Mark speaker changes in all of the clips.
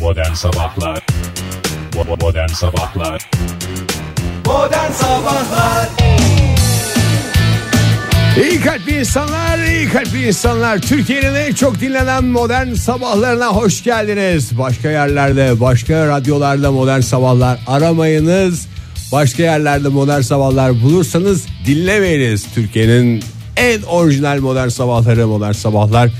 Speaker 1: Modern Sabahlar Bo- Modern Sabahlar
Speaker 2: Modern Sabahlar
Speaker 3: İyi kalpli insanlar, iyi kalpli insanlar. Türkiye'nin en çok dinlenen modern sabahlarına hoş geldiniz. Başka yerlerde, başka radyolarda modern sabahlar aramayınız. Başka yerlerde modern sabahlar bulursanız dinlemeyiniz. Türkiye'nin en orijinal modern sabahları, modern sabahlar.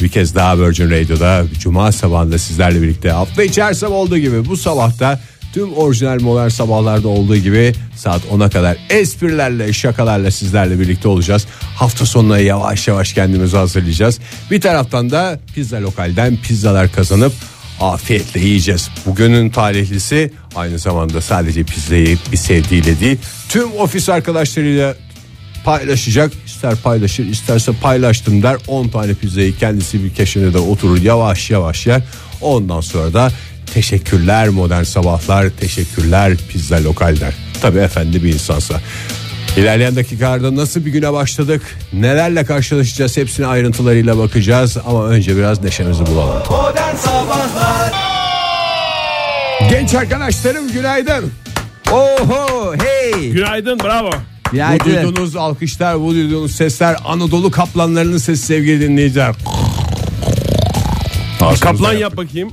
Speaker 3: Bir kez daha Virgin Radio'da Cuma sabahında sizlerle birlikte hafta içi her sabah olduğu gibi bu sabahta Tüm orijinal modern sabahlarda olduğu gibi saat 10'a kadar esprilerle şakalarla sizlerle birlikte olacağız. Hafta sonuna yavaş yavaş kendimizi hazırlayacağız. Bir taraftan da pizza lokalden pizzalar kazanıp afiyetle yiyeceğiz. Bugünün tarihlisi aynı zamanda sadece pizzayı bir sevdiğiyle değil tüm ofis arkadaşlarıyla paylaşacak. İster paylaşır isterse paylaştım der 10 tane pizzayı kendisi bir keşine de oturur yavaş yavaş yer. Ondan sonra da teşekkürler modern sabahlar teşekkürler pizza lokal der. Tabi efendi bir insansa. İlerleyen dakikalarda nasıl bir güne başladık nelerle karşılaşacağız hepsine ayrıntılarıyla bakacağız ama önce biraz neşemizi bulalım.
Speaker 2: Modern Sabahlar
Speaker 3: Genç arkadaşlarım günaydın.
Speaker 4: Oho Oh, hey.
Speaker 5: Günaydın bravo.
Speaker 3: Bu duyduğunuz alkışlar, bu duyduğunuz sesler Anadolu kaplanlarının sesi sevgili dinleyiciler.
Speaker 5: Kaplan yap bakayım.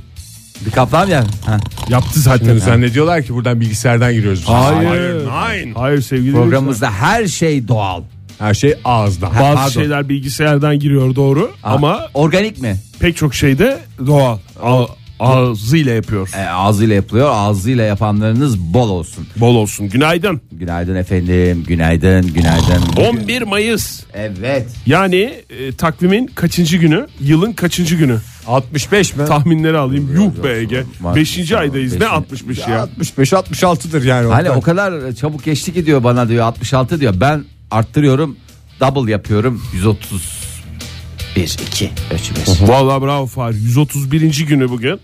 Speaker 4: Bir kaplan ya. Ha.
Speaker 5: Yaptı zaten.
Speaker 3: Zannediyorlar ki buradan bilgisayardan giriyoruz. biz.
Speaker 5: Hayır.
Speaker 3: Hayır.
Speaker 5: Hayır sevgili dinleyiciler.
Speaker 4: Programımızda her şey doğal.
Speaker 3: Her şey ağızda.
Speaker 5: bazı
Speaker 4: Pardon.
Speaker 5: şeyler bilgisayardan giriyor doğru ama
Speaker 4: Organik mi?
Speaker 5: pek çok şey de doğal. A- ağzıyla yapıyor.
Speaker 4: E, ağzıyla yapılıyor. Ağzıyla yapanlarınız bol olsun.
Speaker 5: Bol olsun. Günaydın.
Speaker 4: Günaydın efendim. Günaydın. Günaydın.
Speaker 5: 11 Mayıs.
Speaker 4: Evet.
Speaker 5: Yani e, takvimin kaçıncı günü? Yılın kaçıncı günü?
Speaker 3: 65 mi?
Speaker 5: Tahminleri alayım. Yuh be Ege.
Speaker 4: Var.
Speaker 5: 5. aydayız. Ne
Speaker 4: Beşinci.
Speaker 5: 65 ya?
Speaker 3: 65 66'dır yani.
Speaker 4: Hani o kadar çabuk geçti ki diyor bana diyor 66 diyor. Ben arttırıyorum. Double yapıyorum. 130. 1 2 3 5.
Speaker 5: Vallahi bravo Fahri. 131. günü bugün.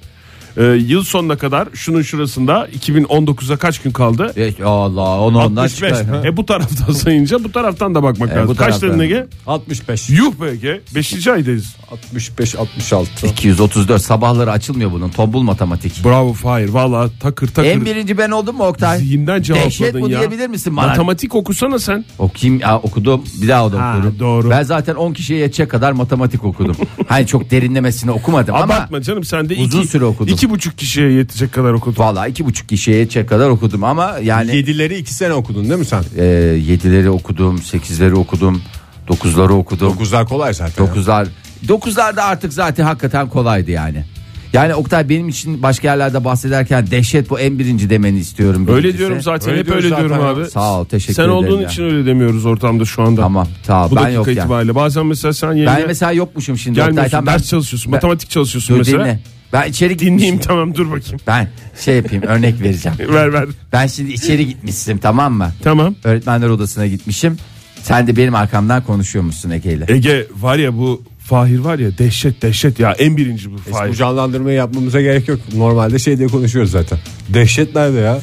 Speaker 5: E, yıl sonuna kadar şunun şurasında 2019'a kaç gün kaldı?
Speaker 4: Allah onu ondan
Speaker 5: 65.
Speaker 4: E, çıkar.
Speaker 5: E bu taraftan sayınca bu taraftan da bakmak
Speaker 4: E, bu
Speaker 5: lazım. Kaç
Speaker 4: taraftan.
Speaker 5: dedin Ege?
Speaker 3: 65
Speaker 5: Yuh be Ege. 5. aydayız.
Speaker 3: 65 66.
Speaker 4: 234 sabahları açılmıyor bunun. Tombul matematik.
Speaker 5: Bravo Fahir. Valla takır takır.
Speaker 4: En birinci ben oldum mu Oktay?
Speaker 5: Zihinden cevapladın
Speaker 4: Dehşet bu
Speaker 5: ya.
Speaker 4: diyebilir misin bana?
Speaker 5: Matematik okusana sen.
Speaker 4: Okuyayım ya, okudum bir daha da
Speaker 5: Ha,
Speaker 4: okudum.
Speaker 5: doğru.
Speaker 4: Ben zaten 10 kişiye yetecek kadar matematik okudum. hani çok derinlemesine okumadım ama
Speaker 5: Abartma canım sen de
Speaker 4: uzun
Speaker 5: iki,
Speaker 4: süre okudum.
Speaker 5: iki buçuk kişiye yetecek kadar okudun.
Speaker 4: Vallahi iki buçuk kişiye yetecek kadar okudum ama yani
Speaker 3: 7'leri 2 sene okudun değil mi sen?
Speaker 4: e, yedileri okudum, sekizleri okudum, dokuzları okudum.
Speaker 3: 9'lar kolay zaten. ya.
Speaker 4: Dokuzlar, dokuzlar da artık zaten hakikaten kolaydı yani. Yani Oktay benim için başka yerlerde bahsederken dehşet bu en birinci demeni istiyorum.
Speaker 5: Öyle
Speaker 4: birincisi.
Speaker 5: diyorum zaten
Speaker 3: Öyle
Speaker 5: hep
Speaker 3: diyoruz
Speaker 5: öyle
Speaker 3: zaten
Speaker 5: diyorum
Speaker 3: abi.
Speaker 5: abi.
Speaker 4: Sağ ol teşekkür
Speaker 5: sen
Speaker 4: ederim.
Speaker 5: olduğun
Speaker 4: ya.
Speaker 5: için öyle demiyoruz ortamda şu anda.
Speaker 4: Tamam tamam
Speaker 5: Bu
Speaker 4: ben
Speaker 5: dakika
Speaker 4: yok yani.
Speaker 5: itibariyle. Bazen mesela sen yeni
Speaker 4: Ben mesela yokmuşum şimdi. Oktay.
Speaker 5: gelmiyorsun.
Speaker 4: Tamam, ben-
Speaker 5: ders çalışıyorsun. matematik çalışıyorsun
Speaker 4: Dur
Speaker 5: mesela.
Speaker 4: dinle. Ben içeri
Speaker 5: Dinleyeyim
Speaker 4: gitmişim.
Speaker 5: tamam dur bakayım.
Speaker 4: Ben şey yapayım örnek vereceğim.
Speaker 5: Ver ver.
Speaker 4: Ben şimdi içeri gitmiştim tamam mı?
Speaker 5: Tamam.
Speaker 4: Öğretmenler odasına gitmişim. Sen de benim arkamdan konuşuyormuşsun Ege'yle.
Speaker 5: Ege var ya bu Fahir var ya dehşet dehşet ya en birinci bu
Speaker 3: Bu
Speaker 5: Fahir.
Speaker 3: canlandırmayı yapmamıza gerek yok. Normalde şey diye konuşuyoruz zaten. Dehşet nerede ya?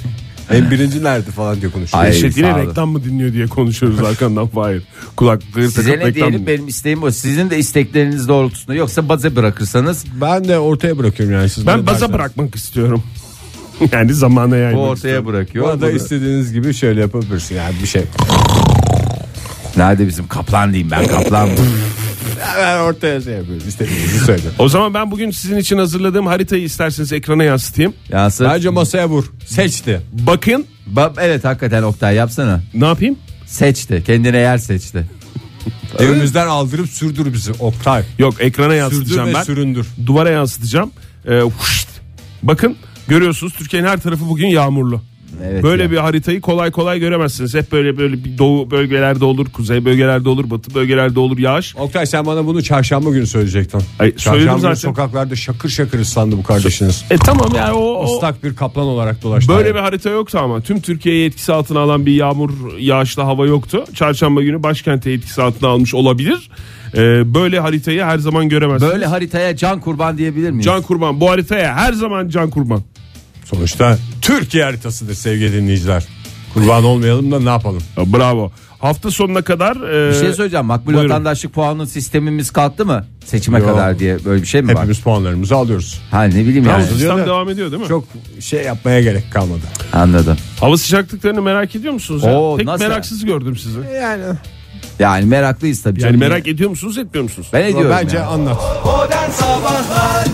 Speaker 3: En birinci nerede falan diye konuşuyoruz.
Speaker 4: Ay,
Speaker 5: Dehşet
Speaker 4: sağ
Speaker 5: yine
Speaker 4: olun.
Speaker 5: reklam mı dinliyor diye konuşuyoruz arkandan Fahir. Kulaklıkları
Speaker 4: Size
Speaker 5: takıp
Speaker 4: ne
Speaker 5: reklam
Speaker 4: diyelim
Speaker 5: dinliyor.
Speaker 4: benim isteğim o. Sizin de istekleriniz doğrultusunda yoksa baza bırakırsanız
Speaker 3: Ben de ortaya bırakıyorum yani siz.
Speaker 5: Ben
Speaker 3: bana
Speaker 5: baza
Speaker 3: derseniz.
Speaker 5: bırakmak istiyorum. yani zamana
Speaker 4: bu
Speaker 5: yaymak
Speaker 4: ortaya bırakıyor.
Speaker 3: Bana da
Speaker 4: Bunu-
Speaker 3: istediğiniz gibi şöyle yapabilirsin yani bir şey.
Speaker 4: Nerede bizim kaplan diyeyim ben kaplan. mı?
Speaker 3: Ben ortaya şey yapıyorum istediğinizi söyle.
Speaker 5: O zaman ben bugün sizin için hazırladığım haritayı isterseniz ekrana yansıtayım.
Speaker 4: Yansın.
Speaker 3: Bence masaya vur. Seçti.
Speaker 5: Bakın
Speaker 4: Ba- evet hakikaten Oktay yapsana.
Speaker 5: ne yapayım?
Speaker 4: Seçti. Kendine yer seçti.
Speaker 3: Evimizden aldırıp sürdür bizi Oktay.
Speaker 5: Yok ekrana
Speaker 3: Sürdür
Speaker 5: yansıtacağım
Speaker 3: ve
Speaker 5: ben.
Speaker 3: süründür.
Speaker 5: Duvara yansıtacağım. Ee, huşt. Bakın görüyorsunuz Türkiye'nin her tarafı bugün yağmurlu.
Speaker 4: Evet
Speaker 5: böyle
Speaker 4: ya.
Speaker 5: bir haritayı kolay kolay göremezsiniz. Hep böyle böyle bir doğu bölgelerde olur, kuzey bölgelerde olur, batı bölgelerde olur yağış.
Speaker 3: Oktay sen bana bunu çarşamba günü söyleyecektin.
Speaker 5: Ay, söyledim
Speaker 3: çarşamba günü
Speaker 5: zaten.
Speaker 3: sokaklarda şakır şakır ıslandı bu kardeşiniz.
Speaker 5: E tamam yani o, o-
Speaker 3: Islak bir kaplan olarak dolaştı.
Speaker 5: böyle bir harita yoktu ama tüm Türkiye'yi etkisi altına alan bir yağmur yağışlı hava yoktu. Çarşamba günü başkenti etkisi altına almış olabilir. Ee, böyle haritayı her zaman göremezsiniz.
Speaker 4: Böyle haritaya can kurban diyebilir miyiz?
Speaker 5: Can kurban bu haritaya her zaman can kurban.
Speaker 3: Sonuçta Türkiye haritasıdır sevgili dinleyiciler. Kurban olmayalım da ne yapalım?
Speaker 5: Ya, bravo. Hafta sonuna kadar e,
Speaker 4: Bir şey söyleyeceğim. Makbul
Speaker 5: buyurun.
Speaker 4: vatandaşlık puanı sistemimiz kalktı mı? Seçime
Speaker 3: Yok.
Speaker 4: kadar diye böyle bir şey mi var?
Speaker 3: Hepimiz puanlarımızı alıyoruz.
Speaker 4: Ha ne bileyim yani.
Speaker 5: sistem
Speaker 3: diyor da-
Speaker 5: devam ediyor değil mi?
Speaker 3: Çok şey yapmaya gerek kalmadı.
Speaker 4: Anladım.
Speaker 5: Hava sıcaklıklarını merak ediyor musunuz? ya?
Speaker 4: Oo,
Speaker 5: Pek
Speaker 4: nasıl? Ee,
Speaker 5: meraksız gördüm sizi. Yani
Speaker 3: Yani
Speaker 4: Yani meraklıyız tabii. canım.
Speaker 5: merak ediyor musunuz etmiyor musunuz?
Speaker 4: Ben ediyorum
Speaker 3: bence
Speaker 4: ya.
Speaker 3: anlat.
Speaker 2: Modern Sabahlar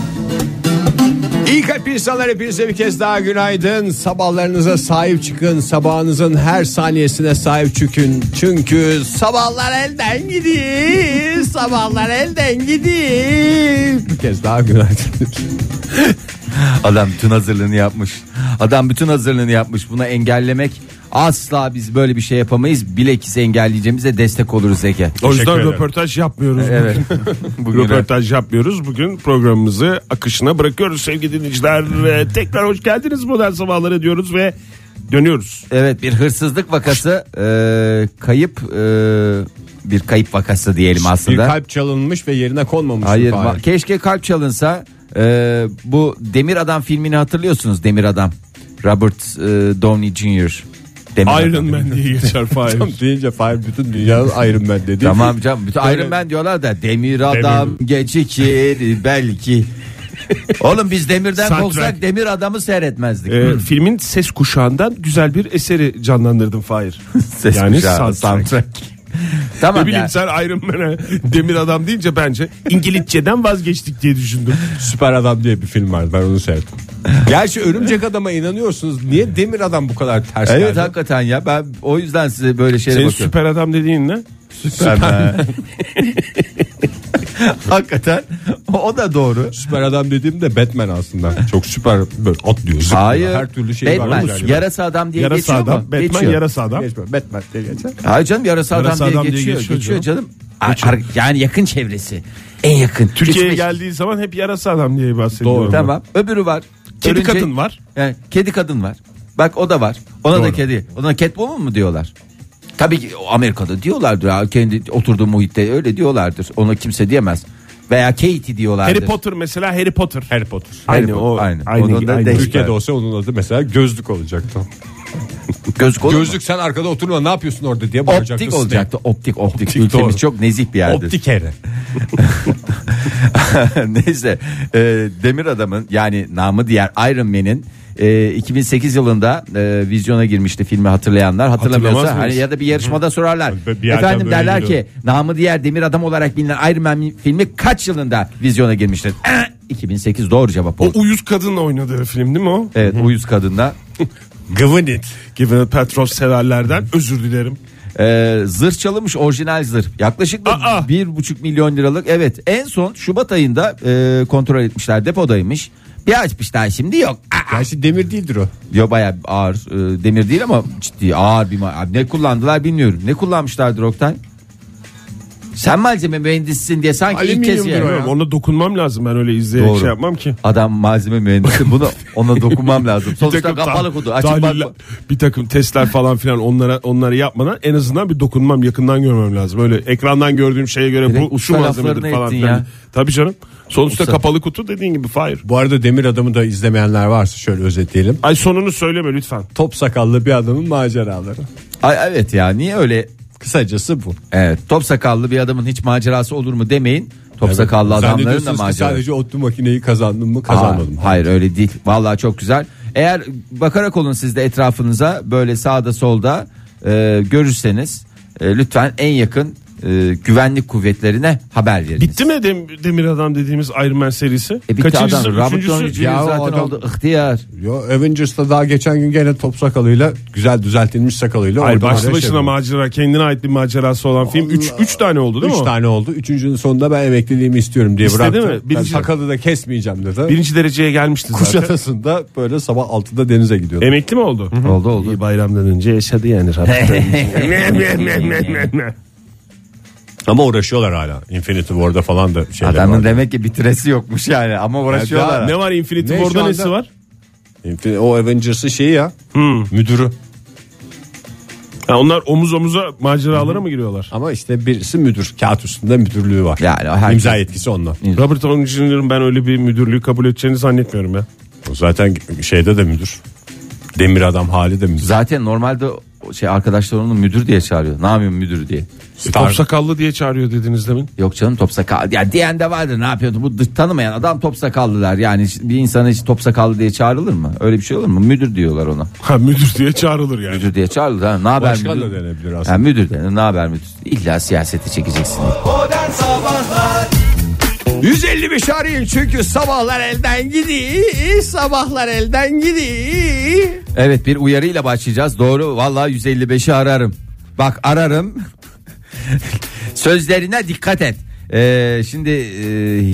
Speaker 3: İyi kalp insanlar hepinize bir kez daha günaydın. Sabahlarınıza sahip çıkın. Sabahınızın her saniyesine sahip çıkın. Çünkü sabahlar elden gidiyor. Sabahlar elden gidiyor. Bir kez daha günaydın.
Speaker 4: Adam bütün hazırlığını yapmış. Adam bütün hazırlığını yapmış. Buna engellemek asla biz böyle bir şey yapamayız. Bilakis engelleyeceğimize destek oluruz Ege.
Speaker 5: O yüzden
Speaker 3: Teşekkür ederim.
Speaker 5: röportaj yapmıyoruz.
Speaker 4: Evet. Bugün
Speaker 5: Röportaj yapmıyoruz. Bugün programımızı akışına bırakıyoruz sevgili dinleyiciler. Ee, Tekrar hoş geldiniz modern sabahlara diyoruz ve dönüyoruz.
Speaker 4: Evet bir hırsızlık vakası eee, kayıp eee, bir kayıp vakası diyelim
Speaker 3: Bir
Speaker 4: aslında.
Speaker 3: kalp çalınmış ve yerine konmamış.
Speaker 4: Hayır
Speaker 3: bir fare.
Speaker 4: va- keşke kalp çalınsa Eee, bu Demir Adam filmini hatırlıyorsunuz Demir Adam. Robert eee, Downey Jr. Demir
Speaker 5: Iron
Speaker 4: Adam.
Speaker 5: Man diye geçer Fahir.
Speaker 3: Tam deyince fire bütün dünyanın ayrım ben dedi.
Speaker 4: Tamam canım bütün
Speaker 3: Böyle-
Speaker 4: Iron Man diyorlar da Demir Adam gecikir belki. Oğlum biz demirden
Speaker 5: Star
Speaker 4: korksak
Speaker 5: Trek.
Speaker 4: demir adamı seyretmezdik.
Speaker 5: Ee, filmin ses kuşağından güzel bir eseri canlandırdım Fahir.
Speaker 4: Ses
Speaker 5: yani
Speaker 4: kuşağı,
Speaker 5: soundtrack. Ne
Speaker 4: tamam
Speaker 5: bileyim
Speaker 4: ya.
Speaker 5: sen Iron Man'e demir adam deyince bence İngilizceden vazgeçtik diye düşündüm.
Speaker 3: Süper Adam diye bir film vardı ben onu seyrettim. Gerçi örümcek adama inanıyorsunuz. Niye demir adam bu kadar ters
Speaker 4: Evet
Speaker 3: geldi?
Speaker 4: hakikaten ya ben o yüzden size böyle şeylere
Speaker 5: Senin
Speaker 4: bakıyorum.
Speaker 5: süper adam dediğin ne?
Speaker 4: Süpermen. hakikaten o- o da doğru.
Speaker 3: Süper adam dediğim de Batman aslında. Çok süper böyle atlıyor. zıplıyor,
Speaker 4: Hayır.
Speaker 3: Her türlü şey var.
Speaker 4: Batman,
Speaker 3: ama yani.
Speaker 4: yarasa adam diye
Speaker 5: Yarasa
Speaker 4: geçiyor
Speaker 5: adam.
Speaker 4: mu?
Speaker 5: Batman
Speaker 4: geçiyor.
Speaker 5: yarasa adam.
Speaker 3: Geçme, Batman diye geçer.
Speaker 4: Hayır canım yarasa,
Speaker 5: Yarasa
Speaker 4: adam, diye,
Speaker 5: adam diye
Speaker 4: geçiyor.
Speaker 5: geçiyor
Speaker 4: Geçiyor, canım. Ar- ar- yani yakın çevresi. En yakın.
Speaker 5: Türkiye'ye
Speaker 4: Üç beş-
Speaker 5: geldiği zaman hep yarasa adam diye bahsediyorum. ben.
Speaker 4: Tamam. Öbürü var.
Speaker 5: Kedi
Speaker 4: Örümcek-
Speaker 5: kadın var.
Speaker 4: Yani kedi kadın var. Bak o da var. Ona da
Speaker 5: Doğru.
Speaker 4: kedi. Ona Catwoman mı diyorlar? Tabii ki Amerika'da diyorlardır. ha, Kendi oturduğu muhitte öyle diyorlardır. Ona kimse diyemez. Veya Katie diyorlardır.
Speaker 5: Harry Potter mesela Harry Potter.
Speaker 3: Harry Potter.
Speaker 5: Aynı
Speaker 4: Harry
Speaker 5: o.
Speaker 4: Potter, aynı.
Speaker 5: aynı,
Speaker 4: Onun da
Speaker 5: aynı.
Speaker 4: değişik.
Speaker 5: Türkiye-
Speaker 3: Türkiye'de olsa onun adı mesela gözlük olacaktı.
Speaker 4: Gözlük olur mu?
Speaker 3: gözlük sen arkada oturma ne yapıyorsun orada diye bağıracaktı.
Speaker 4: Optik
Speaker 3: sinek.
Speaker 4: olacaktı. Optik, optik.
Speaker 3: Optik,
Speaker 4: Ülkemiz
Speaker 3: doğru.
Speaker 4: çok nezih bir yerdir.
Speaker 3: Optik herif.
Speaker 4: Neyse e, Demir Adam'ın yani namı diğer Iron Man'in e, 2008 yılında e, vizyona girmişti filmi hatırlayanlar hatırlamıyorsa
Speaker 5: Hatırlamaz
Speaker 4: hani
Speaker 5: mıyız?
Speaker 4: ya da bir yarışmada sorarlar
Speaker 3: Bir- bir yerden
Speaker 4: efendim
Speaker 3: böyle
Speaker 4: derler
Speaker 3: geliyor.
Speaker 4: ki namı diğer Demir Adam olarak bilinen Iron Man filmi kaç yılında vizyona girmiştir? Eh, 2008 doğru cevap
Speaker 5: O
Speaker 4: oldu.
Speaker 5: uyuz kadınla oynadığı film değil mi o?
Speaker 4: Evet uyuz kadınla
Speaker 5: Given it. Given it Petrov severlerden özür dilerim.
Speaker 4: Ee, zırh çalınmış orijinal zırh. Yaklaşık
Speaker 5: Aa!
Speaker 4: bir buçuk milyon liralık. Evet en son Şubat ayında e, kontrol etmişler depodaymış. Bir açmışlar şimdi yok. Aa!
Speaker 3: Gerçi demir değildir o.
Speaker 4: Yo baya ağır e, demir değil ama ciddi ağır bir ma- Abi Ne kullandılar bilmiyorum. Ne kullanmışlardır Oktay? Sen malzeme mühendisisin diye sanki ilk kez
Speaker 5: Alüminyumdur
Speaker 4: yani.
Speaker 5: o ya. Ona dokunmam lazım ben öyle izleyerek
Speaker 4: Doğru.
Speaker 5: şey yapmam ki.
Speaker 4: Adam malzeme mühendisi bunu ona dokunmam lazım. Sonuçta
Speaker 5: ta-
Speaker 4: kapalı kutu. Açık
Speaker 5: tahliller,
Speaker 4: bakma.
Speaker 5: bir takım testler falan filan onlara onları yapmadan en azından bir dokunmam yakından görmem lazım. Öyle ekrandan gördüğüm şeye göre
Speaker 4: Direkt
Speaker 5: bu şu
Speaker 4: usta
Speaker 5: malzemedir
Speaker 4: laflarını
Speaker 5: falan
Speaker 4: ettin
Speaker 5: filan.
Speaker 4: ya.
Speaker 5: Tabii canım. Sonuçta
Speaker 4: Usta.
Speaker 5: kapalı kutu dediğin gibi fire.
Speaker 3: Bu arada demir adamı da izlemeyenler varsa şöyle özetleyelim.
Speaker 5: Ay sonunu söyleme lütfen.
Speaker 3: Top sakallı bir adamın maceraları.
Speaker 4: Ay, evet ya niye öyle
Speaker 3: Kısacası bu.
Speaker 4: Evet, top sakallı bir adamın hiç macerası olur mu demeyin. Top sakallı adamların da
Speaker 3: Zannediyorsunuz ki
Speaker 4: macerası.
Speaker 3: sadece otlu makineyi kazandım mı
Speaker 4: Aa,
Speaker 3: kazanmadım. mı?
Speaker 4: hayır öyle değil. Vallahi çok güzel. Eğer bakarak olun siz de etrafınıza böyle sağda solda e, görürseniz e, lütfen en yakın e, güvenlik kuvvetlerine haber veriniz.
Speaker 5: Bitti mi Dem- Demir Adam dediğimiz Iron Man serisi?
Speaker 4: E, bitti
Speaker 5: Kaçıncısı?
Speaker 4: adam. Robert
Speaker 5: Üçüncüsü?
Speaker 4: Downey Jr.
Speaker 3: Ya o
Speaker 4: zaten
Speaker 3: adam-
Speaker 4: oldu ihtiyar.
Speaker 3: Yo Avengers'ta daha geçen gün gene top sakalıyla güzel düzeltilmiş sakalıyla
Speaker 5: Hayır
Speaker 3: oradan
Speaker 5: başlı
Speaker 3: oraya şey
Speaker 5: başına
Speaker 3: oldu.
Speaker 5: macera kendine ait bir macerası olan film 3 tane oldu değil mi?
Speaker 3: Üç
Speaker 5: o?
Speaker 3: tane oldu. Üçüncünün sonunda ben emekliliğimi istiyorum diye
Speaker 5: İstedi
Speaker 3: bıraktım.
Speaker 5: mi? şey-
Speaker 3: Ben
Speaker 5: Birinci-
Speaker 3: sakalı da kesmeyeceğim dedi.
Speaker 5: Birinci dereceye gelmişti zaten.
Speaker 3: Kuşadası'nda böyle sabah 6'da denize gidiyordum.
Speaker 5: Emekli mi oldu?
Speaker 4: Oldu oldu.
Speaker 5: Bayramdan önce yaşadı yani Rabbim.
Speaker 3: Ama uğraşıyorlar hala. Infinity War'da falan da şeyler
Speaker 4: Adamın
Speaker 3: var.
Speaker 4: demek ki bitiresi yokmuş yani ama uğraşıyorlar.
Speaker 5: ne var Infinity
Speaker 3: Ne şu
Speaker 5: War'da
Speaker 3: anda?
Speaker 5: nesi var?
Speaker 3: Infin- o Avengers'ın şeyi ya. Müdürü.
Speaker 5: Ha, onlar omuz omuza maceralara mı giriyorlar?
Speaker 3: Ama işte birisi müdür. Kağıt üstünde müdürlüğü var.
Speaker 4: Yani herkes-
Speaker 3: İmza yetkisi onunla.
Speaker 5: Robert Downey Jr.'ın ben öyle bir müdürlüğü kabul edeceğini zannetmiyorum ya.
Speaker 3: O Zaten şeyde de müdür. Demir adam hali de müdür.
Speaker 4: Zaten normalde şey arkadaşlar onu müdür diye çağırıyor. Ne yapıyorsun müdür diye.
Speaker 5: Top sakallı E, diye çağırıyor dediniz demin.
Speaker 4: Yok canım top sakal. Ya diyen de vardır ne yapıyordu bu dı- tanımayan adam top sakallı der. Yani hiç- bir insana hiç top sakallı diye çağrılır mı? Öyle bir şey olur mu? Müdür diyorlar ona.
Speaker 5: Ha müdür diye çağrılır yani.
Speaker 4: Müdür diye çağrılır. Ha, ne haber
Speaker 3: Başkan
Speaker 4: müdür?
Speaker 3: da denebilir aslında.
Speaker 4: Ha, müdür denir ne haber müdür? İlla siyasete çekeceksin.
Speaker 2: Modern Sabahlar
Speaker 3: 155 arayın çünkü sabahlar elden gidiyor. Sabahlar elden gidiyor.
Speaker 4: Evet bir uyarıyla başlayacağız. Doğru vallahi 155'i ararım. Bak ararım. Sözlerine dikkat et. Ee, şimdi e,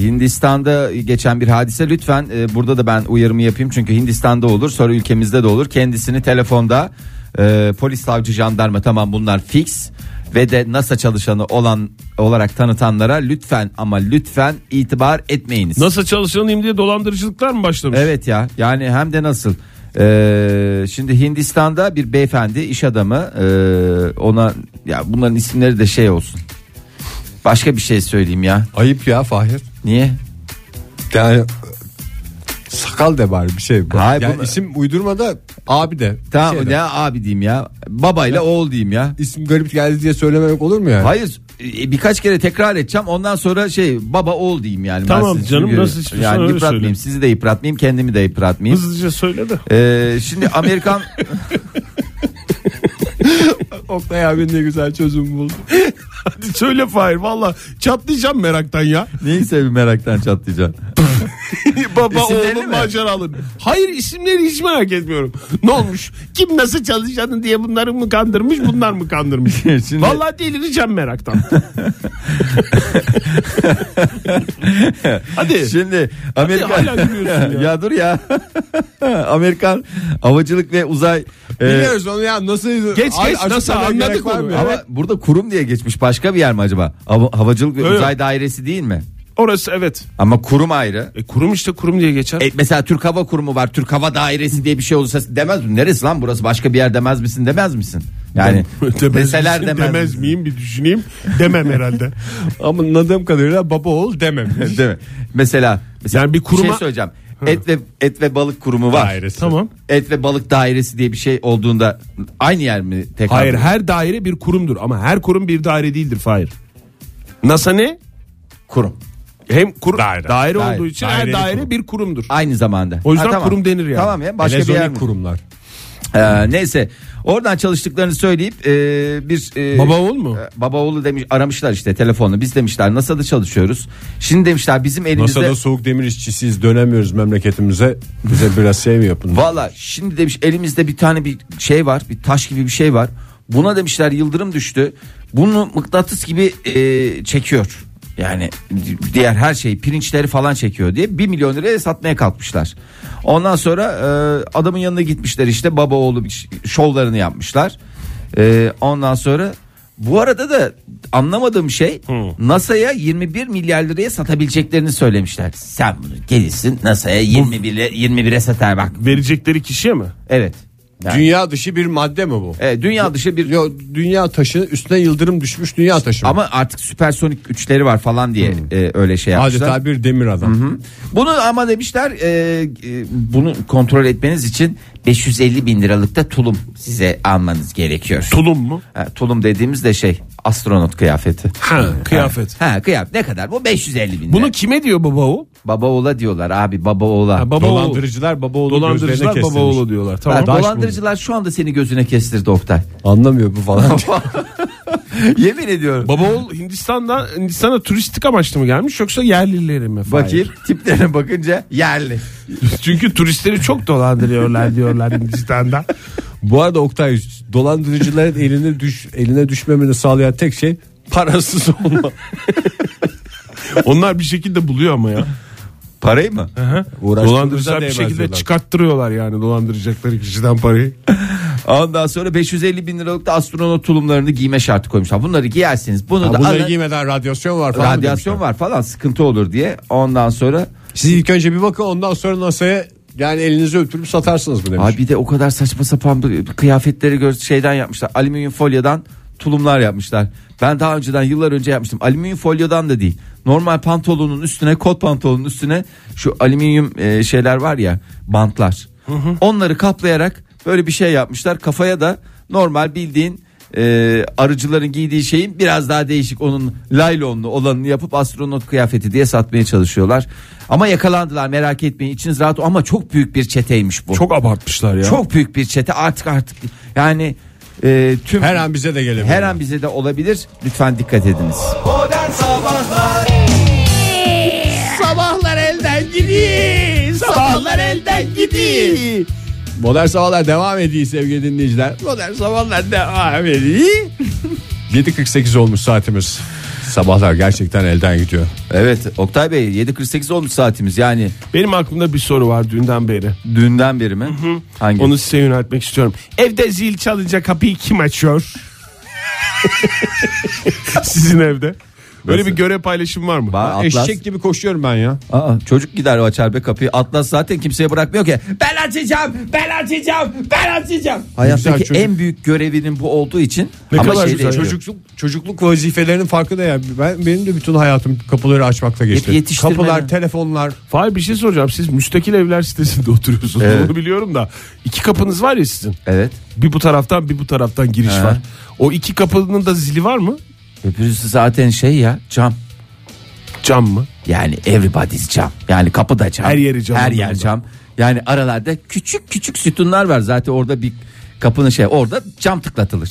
Speaker 4: Hindistan'da geçen bir hadise lütfen e, burada da ben uyarımı yapayım çünkü Hindistan'da olur sonra ülkemizde de olur kendisini telefonda e, polis savcı jandarma tamam bunlar fix ve de NASA çalışanı olan olarak tanıtanlara lütfen ama lütfen itibar etmeyiniz.
Speaker 5: Nasıl çalışanayım diye dolandırıcılıklar mı başlamış?
Speaker 4: Evet ya yani hem de nasıl. Ee, şimdi Hindistan'da bir beyefendi iş adamı e, ona ya bunların isimleri de şey olsun. Başka bir şey söyleyeyim ya.
Speaker 3: Ayıp ya Fahir.
Speaker 4: Niye?
Speaker 3: Yani sakal de bari bir şey.
Speaker 4: Hayır,
Speaker 3: yani
Speaker 4: bunu-
Speaker 3: isim uydurma da abi de.
Speaker 4: Tamam
Speaker 3: Şey de.
Speaker 4: ya abi diyeyim ya. Babayla oğul diyeyim ya.
Speaker 3: İsim garip geldi diye söylememek olur mu yani?
Speaker 4: Hayır e, birkaç kere tekrar edeceğim ondan sonra şey baba oğul diyeyim yani. Ben
Speaker 5: Tamam
Speaker 4: sizi
Speaker 5: canım,
Speaker 4: çünkü-
Speaker 5: nasıl istiyorsan
Speaker 4: Yani
Speaker 5: öyle
Speaker 4: yıpratmayayım
Speaker 5: söyle.
Speaker 4: sizi de yıpratmayayım kendimi de yıpratmayayım.
Speaker 5: Hızlıca söyle de.
Speaker 4: Ee, şimdi Amerikan
Speaker 3: Oktay abi ne güzel çözüm buldu.
Speaker 5: Hadi söyle Fahir valla çatlayacağım meraktan ya.
Speaker 4: neyse bir meraktan çatlayacaksın.
Speaker 5: Baba
Speaker 4: İsimlerini
Speaker 5: oğlum
Speaker 4: mi?
Speaker 5: maceralı. Hayır isimleri hiç merak etmiyorum. Ne olmuş? Kim nasıl çalışanı diye bunları mı kandırmış bunlar mı kandırmış?
Speaker 4: Şimdi-
Speaker 5: Vallahi delireceğim meraktan. Hadi.
Speaker 4: Şimdi Amerikan
Speaker 5: hala gülüyorsun
Speaker 4: ya.
Speaker 5: ya.
Speaker 4: dur ya. Amerikan Havacılık ve Uzay e,
Speaker 3: Biliyoruz onu ya nasıl
Speaker 5: Geç,
Speaker 3: Ay-
Speaker 5: geç, nasıl
Speaker 3: açıklamaya
Speaker 5: anladık
Speaker 3: gerek var
Speaker 5: onu
Speaker 3: mı
Speaker 5: ya?
Speaker 3: ya?
Speaker 4: ama burada kurum diye geçmiş başka bir yer mi acaba? Hava- Havacılık ve
Speaker 5: Öyle.
Speaker 4: Uzay Dairesi değil mi?
Speaker 5: Orası evet.
Speaker 4: Ama kurum ayrı.
Speaker 5: E, kurum işte kurum diye geçer.
Speaker 4: E, mesela Türk Hava Kurumu var. Türk Hava Dairesi diye bir şey olursa demez mi? Neresi lan burası? Başka bir yer demez misin? Demez misin? Yani deseler
Speaker 5: misin,
Speaker 4: demez.
Speaker 5: demez
Speaker 4: misin?
Speaker 5: miyim bir düşüneyim. Demem herhalde.
Speaker 3: Ama anladığım kadarıyla baba oğul dememiş.
Speaker 4: Değil mi? Mesela, mesela
Speaker 5: Yani bir kuruma-
Speaker 4: şey söyleyeceğim. Et ve et ve balık kurumu var.
Speaker 3: Dairesi.
Speaker 5: tamam.
Speaker 4: Et ve balık dairesi diye bir şey olduğunda aynı yer mi tekrar?
Speaker 5: Hayır her daire bir kurumdur ama her kurum bir daire değildir Fahir. NASA ne?
Speaker 4: kurum.
Speaker 5: Hem kur daire,
Speaker 4: Daire.
Speaker 5: olduğu için her
Speaker 3: Daireli
Speaker 5: daire
Speaker 3: kurum.
Speaker 5: bir kurumdur.
Speaker 4: Aynı zamanda.
Speaker 5: O yüzden
Speaker 4: Ha, tamam.
Speaker 5: kurum denir yani.
Speaker 4: Tamam ya başka bir yer mi?
Speaker 3: Elezonik kurumlar.
Speaker 4: Ee, neyse oradan çalıştıklarını söyleyip e, bir e,
Speaker 5: Baba oğul mu?
Speaker 4: e, baba oğlu demiş aramışlar işte telefonla. Biz demişler NASA'da çalışıyoruz. Şimdi demişler bizim elimizde
Speaker 3: NASA'da soğuk demir işçisiyiz dönemiyoruz memleketimize. Bize biraz şey mi yapın?
Speaker 4: Valla şimdi demiş elimizde bir tane bir şey var bir taş gibi bir şey var. Buna demişler yıldırım düştü. Bunu mıknatıs gibi e, çekiyor. Yani di- diğer her şeyi pirinçleri falan çekiyor diye 1 milyon liraya satmaya kalkmışlar. Ondan sonra e, adamın yanına gitmişler işte baba oğlu bir ş- şovlarını yapmışlar. E, ondan sonra bu arada da anlamadığım şey NASA'ya 21 milyar liraya satabileceklerini söylemişler. Sen bunu gelirsin NASA'ya 21 ile- 21'e satar bak
Speaker 5: Verecekleri kişiye mi?
Speaker 4: Evet. Yani, dünya,
Speaker 3: Dünya dışı bir madde mi bu?
Speaker 4: evet, dünya dışı bir
Speaker 3: Yo, dünya taşı üstüne yıldırım düşmüş dünya taşı. mı?
Speaker 4: ama artık süpersonik güçleri var falan diye
Speaker 5: Hmm.
Speaker 4: e, öyle şey yapmışlar.
Speaker 3: Adeta bir demir adam.
Speaker 4: Bunu ama demişler e, e, bunu kontrol etmeniz için 550 bin liralık da tulum size almanız gerekiyor.
Speaker 5: Tulum mu?
Speaker 4: Ha, tulum dediğimiz de şey astronot kıyafeti.
Speaker 5: Ha, kıyafet.
Speaker 4: Ha kıyafet ne kadar bu 550 bin lira.
Speaker 5: Bunu kime diyor baba o?
Speaker 4: Baba oğla diyorlar abi baba oğla.
Speaker 5: Ha, baba oğlu.
Speaker 3: Dolandırıcılar baba oğlu gözlerine
Speaker 5: Dolandırıcılar baba
Speaker 3: kestirmiş.
Speaker 5: oğlu diyorlar. Tamam.
Speaker 4: Ha, dolandırıcılar şu anda seni gözüne kestirdi Oktay.
Speaker 3: Anlamıyor bu falan.
Speaker 4: Yemin ediyorum.
Speaker 5: Baba oğul Hindistan'da Hindistan'a turistik amaçlı mı gelmiş yoksa yerlilere mi?
Speaker 4: Bakayım tiplerine bakınca yerli.
Speaker 5: Hayır. Çünkü turistleri çok dolandırıyorlar diyorlar Hindistan'da.
Speaker 3: bu arada Oktay dolandırıcıların eline düş eline düşmemeni sağlayan tek şey parasız olma.
Speaker 5: Onlar bir şekilde buluyor ama ya.
Speaker 4: Parayı mı?
Speaker 5: Dolandırıcılar bir
Speaker 3: değmez
Speaker 5: şekilde
Speaker 3: diyorlar.
Speaker 5: çıkarttırıyorlar yani dolandıracakları kişiden parayı.
Speaker 4: Ondan sonra 550 bin liralık da astronot tulumlarını giyme şartı koymuşlar. Bunları giyersiniz. Bunu da
Speaker 3: Bunları
Speaker 4: alın.
Speaker 3: giymeden radyasyon var falan mı
Speaker 4: radyasyon
Speaker 3: demişler?
Speaker 4: var falan sıkıntı olur diye. Ondan sonra
Speaker 3: Siz ilk önce bir bakın ondan sonra NASA'ya yani elinizi öptürüp satarsınız mı demiş.
Speaker 4: abi bir de o kadar saçma sapan bir- bir kıyafetleri gör şeyden yapmışlar. Alüminyum folyadan tulumlar yapmışlar. Ben daha önceden yıllar önce yapmıştım. Alüminyum folyadan da değil. Normal pantolonun üstüne, kot pantolonun üstüne şu alüminyum e, şeyler var ya, bantlar. Onları kaplayarak böyle bir şey yapmışlar. Kafaya da normal bildiğin e, arıcıların giydiği şeyin biraz daha değişik onun laylonlu olanını yapıp astronot kıyafeti diye satmaya çalışıyorlar. Ama yakalandılar merak etmeyin içiniz rahat ol- ama çok büyük bir çeteymiş bu.
Speaker 5: Çok abartmışlar ya.
Speaker 4: Çok büyük bir çete artık artık yani e, tüm
Speaker 6: Her an bize de gelebilir.
Speaker 4: her an bize de olabilir lütfen dikkat ediniz.
Speaker 7: Modern Sabahlar
Speaker 6: sabahlar elden gidiyor. Sabahlar elden gidiyor. Modern Sabahlar devam ediyor sevgili dinleyiciler. Modern Sabahlar devam ediyor. 7.48 olmuş saatimiz. Sabahlar gerçekten elden gidiyor.
Speaker 4: Evet Oktay Bey 7.48 olmuş saatimiz yani
Speaker 5: Benim aklımda bir soru var dünden beri.
Speaker 4: dünden beri mi? Hangi?
Speaker 5: Onu size yöneltmek istiyorum. Evde zil çalınca kapıyı kim açıyor? Sizin evde. Böyle
Speaker 4: Nasıl?
Speaker 5: bir görev paylaşımı var mı?
Speaker 4: Ba- Atlas.
Speaker 6: Eşek gibi koşuyorum ben ya.
Speaker 4: Aa, çocuk gider o açar be kapıyı. Atlas zaten kimseye bırakmıyor ki. Ben açacağım, ben açacağım, ben açacağım. Hayattaki
Speaker 6: Güzel çocuk.
Speaker 4: en büyük görevinin bu olduğu için.
Speaker 5: Ne kadar
Speaker 4: şey
Speaker 5: güzel
Speaker 4: değil.
Speaker 6: Çocukluk, çocukluk vazifelerinin farkında ya. Ben, benim de bütün hayatım kapıları açmakla geçti.
Speaker 4: Yet- yetiştirmenin.
Speaker 6: Kapılar, telefonlar.
Speaker 5: Fahir bir şey soracağım. Siz müstakil evler sitesinde oturuyorsunuz.
Speaker 4: Evet.
Speaker 5: Onu biliyorum da. İki kapınız var ya sizin.
Speaker 4: Evet.
Speaker 5: Bir bu taraftan bir bu taraftan giriş
Speaker 4: He.
Speaker 5: var. O iki kapının da zili var mı?
Speaker 4: Öbürüsü zaten şey ya cam.
Speaker 5: Cam mı?
Speaker 4: Yani everybody's cam. Yani kapı da cam.
Speaker 5: Her yeri cam.
Speaker 4: Her yer cam. Yani aralarda küçük küçük sütunlar var. Zaten orada bir kapının şey orada cam tıklatılır.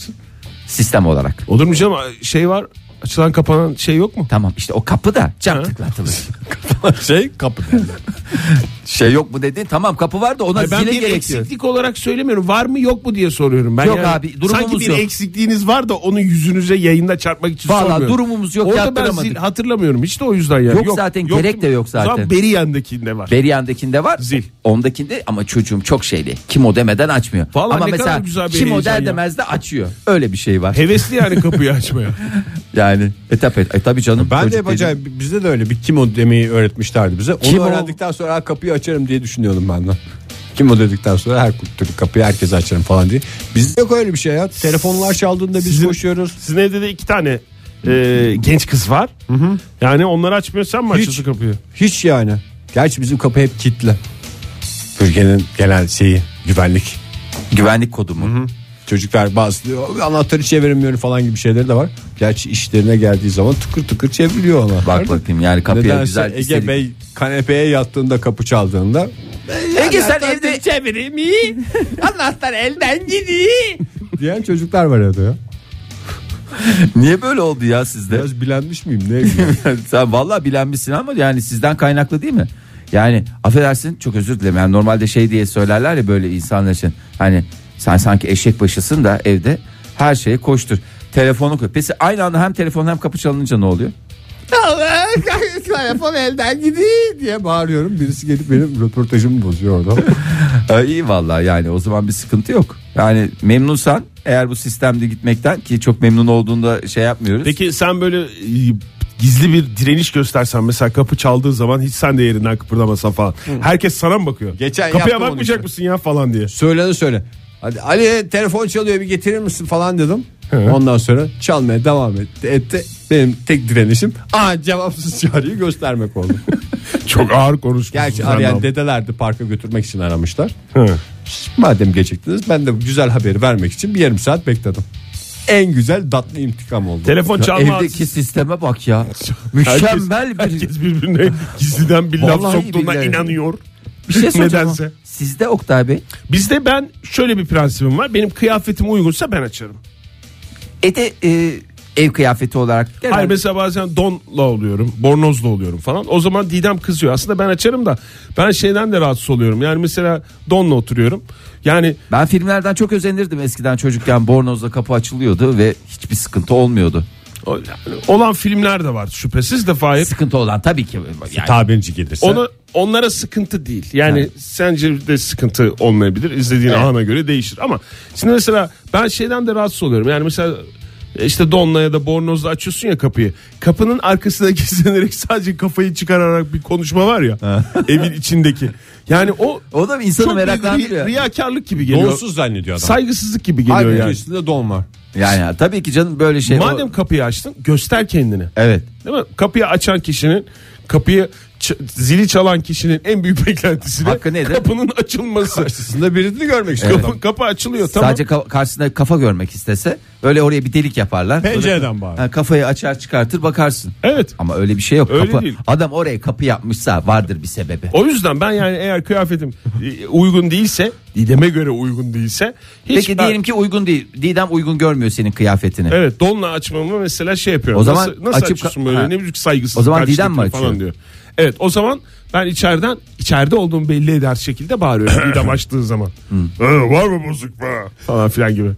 Speaker 4: Sistem olarak.
Speaker 5: Olur mu canım? Şey var. Açılan kapanan şey yok mu?
Speaker 4: Tamam işte o kapı da cam
Speaker 5: Ha.
Speaker 4: tıklatılır.
Speaker 6: Şey kapı.
Speaker 4: şey yok mu dedin? Tamam kapı var da ona
Speaker 5: Hayır, ben
Speaker 4: zile
Speaker 5: bir
Speaker 4: gerek yok.
Speaker 5: eksiklik olarak söylemiyorum. Var mı yok mu diye soruyorum. Ben
Speaker 4: Yok
Speaker 5: yani
Speaker 4: abi, durumumuz
Speaker 5: Sanki bir
Speaker 4: yok.
Speaker 5: eksikliğiniz var da onu yüzünüze yayında çarpmak için
Speaker 4: Vallahi
Speaker 5: sormuyorum.
Speaker 4: durumumuz yok,
Speaker 5: Orada ben
Speaker 4: yaptıramadık.
Speaker 5: zil hatırlamıyorum. İşte o yüzden yani.
Speaker 4: Yok zaten, gerek de yok zaten.
Speaker 5: Zaten Beriyen'dekinde var.
Speaker 4: Beriyan'dakinde var.
Speaker 5: Zil.
Speaker 4: Ondakinde ama çocuğum çok şeyli. Kim o demeden açmıyor.
Speaker 5: Vallahi
Speaker 4: ama
Speaker 5: ne
Speaker 4: mesela
Speaker 5: kadar güzel bir
Speaker 4: kim o
Speaker 5: heyecan
Speaker 4: der
Speaker 5: ya.
Speaker 4: demez de açıyor. Öyle bir şey var.
Speaker 5: Hevesli yani kapıyı açmaya.
Speaker 4: Yani e tabi, e, tabi canım.
Speaker 6: Ben de
Speaker 4: çocuk
Speaker 6: hep acayip bizde de öyle bir kim o demeyi öğretmişlerdi bize. Onu
Speaker 4: Kim o?
Speaker 6: öğrendikten sonra "Aa, kapıyı açarım diye düşünüyordum ben de. Kim o dedikten sonra her türlü kapıyı herkese açarım falan diye. Bizde yok öyle bir şey ya. Telefonlar çaldığında biz
Speaker 5: Sizin-
Speaker 6: koşuyoruz.
Speaker 5: Sizin evde de iki tane e, genç kız var. Yani onları açmıyor sen mi açıyorsun kapıyı?
Speaker 6: Hiç yani. Gerçi bizim kapı hep kilitli. Türkiye'nin genel şeyi güvenlik.
Speaker 4: dedi. Güvenlik kodu mu?
Speaker 6: Çocuklar bazı diyor, anahtarı çeviremiyorum falan gibi şeyleri de var. Gerçi işlerine geldiği zaman tıkır tıkır çeviriyor ona.
Speaker 4: Bak bakayım yani kapıya
Speaker 6: Nedense
Speaker 4: güzel
Speaker 6: Ege
Speaker 4: istedik.
Speaker 6: Bey kanepeye yattığında kapı çaldığında
Speaker 4: Ege sen evde çevireyim iyi. Anahtar elden gidiyor.
Speaker 6: diyen çocuklar var evde ya.
Speaker 4: Niye böyle oldu ya sizde?
Speaker 6: Biraz bilenmiş miyim ne bileyim.
Speaker 4: Sen vallahi bilenmişsin ama yani sizden kaynaklı değil mi? Yani affedersin çok özür dilerim. Yani normalde şey diye söylerler ya böyle insanlar için. Hani sen sanki eşek başısın da evde her şeye koştur. Telefonu koy. Peki aynı anda hem telefon hem kapı çalınınca ne oluyor?
Speaker 6: Telefon elden gidiyor diye bağırıyorum. Birisi gelip benim röportajımı bozuyor orada.
Speaker 4: Ee, iyi vallahi yani o zaman bir sıkıntı yok. Yani memnunsan eğer bu sistemde gitmekten ki çok memnun olduğunda şey yapmıyoruz.
Speaker 5: Peki sen böyle e, gizli bir direniş göstersen mesela kapı çaldığı zaman hiç sen de yerinden kıpırdamasan falan. Herkes sana mı bakıyor?
Speaker 6: Geçen
Speaker 5: Kapıya
Speaker 6: yaptım onu
Speaker 5: bakmayacak
Speaker 6: işte.
Speaker 5: mısın ya falan diye.
Speaker 6: söyle de söyle. Hadi Ali telefon çalıyor bir getirir misin falan dedim. Ondan sonra çalmaya devam etti. etti. Benim tek direnişim aa cevapsız çağrıyı göstermek oldu.
Speaker 5: Çok ağır konuşmuş.
Speaker 6: Gerçi arayan dedelerdi parka götürmek için aramışlar.
Speaker 5: Hı.
Speaker 6: Madem geciktiniz ben de bu güzel haberi vermek için bir yarım saat bekledim. En güzel tatlı intikam oldu.
Speaker 5: Telefon çalma.
Speaker 4: Evdeki sisteme bak ya.
Speaker 5: Herkes-
Speaker 4: Mükemmel bir
Speaker 5: Herkes birbirine gizliden bir laf
Speaker 4: Vallahi
Speaker 5: soktuğuna
Speaker 4: billahi.
Speaker 5: inanıyor.
Speaker 4: bir şey soracağım.
Speaker 5: Nedense.
Speaker 4: ama Sizde Oktay Bey
Speaker 5: Bizde ben şöyle bir prensibim var. Benim kıyafetim uygunsa ben açarım.
Speaker 4: ete e, ev kıyafeti olarak genelde-
Speaker 5: Hayır mesela bazen donla oluyorum, bornozla oluyorum falan. O zaman Didem kızıyor. Aslında ben açarım da ben şeyden de rahatsız oluyorum. Yani mesela donla oturuyorum. Yani
Speaker 4: Ben filmlerden çok özenirdim eskiden çocukken bornozla kapı açılıyordu ve hiçbir sıkıntı olmuyordu.
Speaker 5: o- olan filmler de var şüphesiz de Fahir.
Speaker 4: Sıkıntı olan tabii ki yani
Speaker 6: Tabirci gelirse.
Speaker 5: Onu onlara sıkıntı değil. Yani sence de sıkıntı olmayabilir. İzlediğin ana göre değişir ama şimdi mesela ben şeyden de rahatsız oluyorum. Yani mesela e, işte donla ya da bornozla açıyorsun ya kapıyı. Kapının arkasına gizlenerek sadece kafayı çıkararak bir konuşma var ya evin içindeki. Yani o
Speaker 4: o da insanı
Speaker 5: çok
Speaker 4: meraklandırıyor.
Speaker 5: ri- riyakarlık gibi geliyor.
Speaker 6: Donsuz zannediyor adam.
Speaker 5: Saygısızlık gibi geliyor
Speaker 6: Halbuki
Speaker 5: yani.
Speaker 6: üstünde don var.
Speaker 4: yani tabii ki canım böyle şey.
Speaker 5: Madem
Speaker 4: o-
Speaker 5: kapıyı açtın göster kendini.
Speaker 4: evet.
Speaker 5: Değil mi? Kapıyı açan kişinin kapıyı ç- zili çalan kişinin en büyük beklentisi de
Speaker 4: Hakkı nedir?
Speaker 5: kapının açılması.
Speaker 3: Aslında birini görmek istiyorum.
Speaker 5: kapı, kapı açılıyor tamam.
Speaker 4: Sadece ka- karşısında kafa görmek istese böyle oraya bir delik yaparlar.
Speaker 3: Pencereden
Speaker 4: Böyle-
Speaker 3: bari.
Speaker 4: Ha, kafayı açar çıkartır bakarsın.
Speaker 5: Evet.
Speaker 4: Ama öyle bir şey yok.
Speaker 5: Öyle
Speaker 4: kapı,
Speaker 5: değil.
Speaker 4: Adam oraya kapı yapmışsa vardır bir sebebi.
Speaker 5: O yüzden ben yani eğer kıyafetim e, uygun değilse, Didem'e göre uygun değilse hiç
Speaker 4: Peki
Speaker 5: ben-
Speaker 4: diyelim ki uygun değil. Didem uygun görmüyor senin kıyafetini.
Speaker 5: Evet donla açmamı mesela şey yapıyorum.
Speaker 4: O zaman
Speaker 5: nasıl, nasıl
Speaker 4: açıp-
Speaker 5: açıyorsun böyle
Speaker 4: Ha.
Speaker 5: ne büyük saygısız.
Speaker 4: O zaman
Speaker 5: karşı
Speaker 4: Didem mi
Speaker 5: takım falan
Speaker 4: açıyor?
Speaker 5: diyor. Evet o zaman ben içeriden içeride olduğumu belli eder şekilde bağırıyorum Didem açtığı zaman.
Speaker 1: Ee, var mı bozuk be?
Speaker 5: falan filan gibi.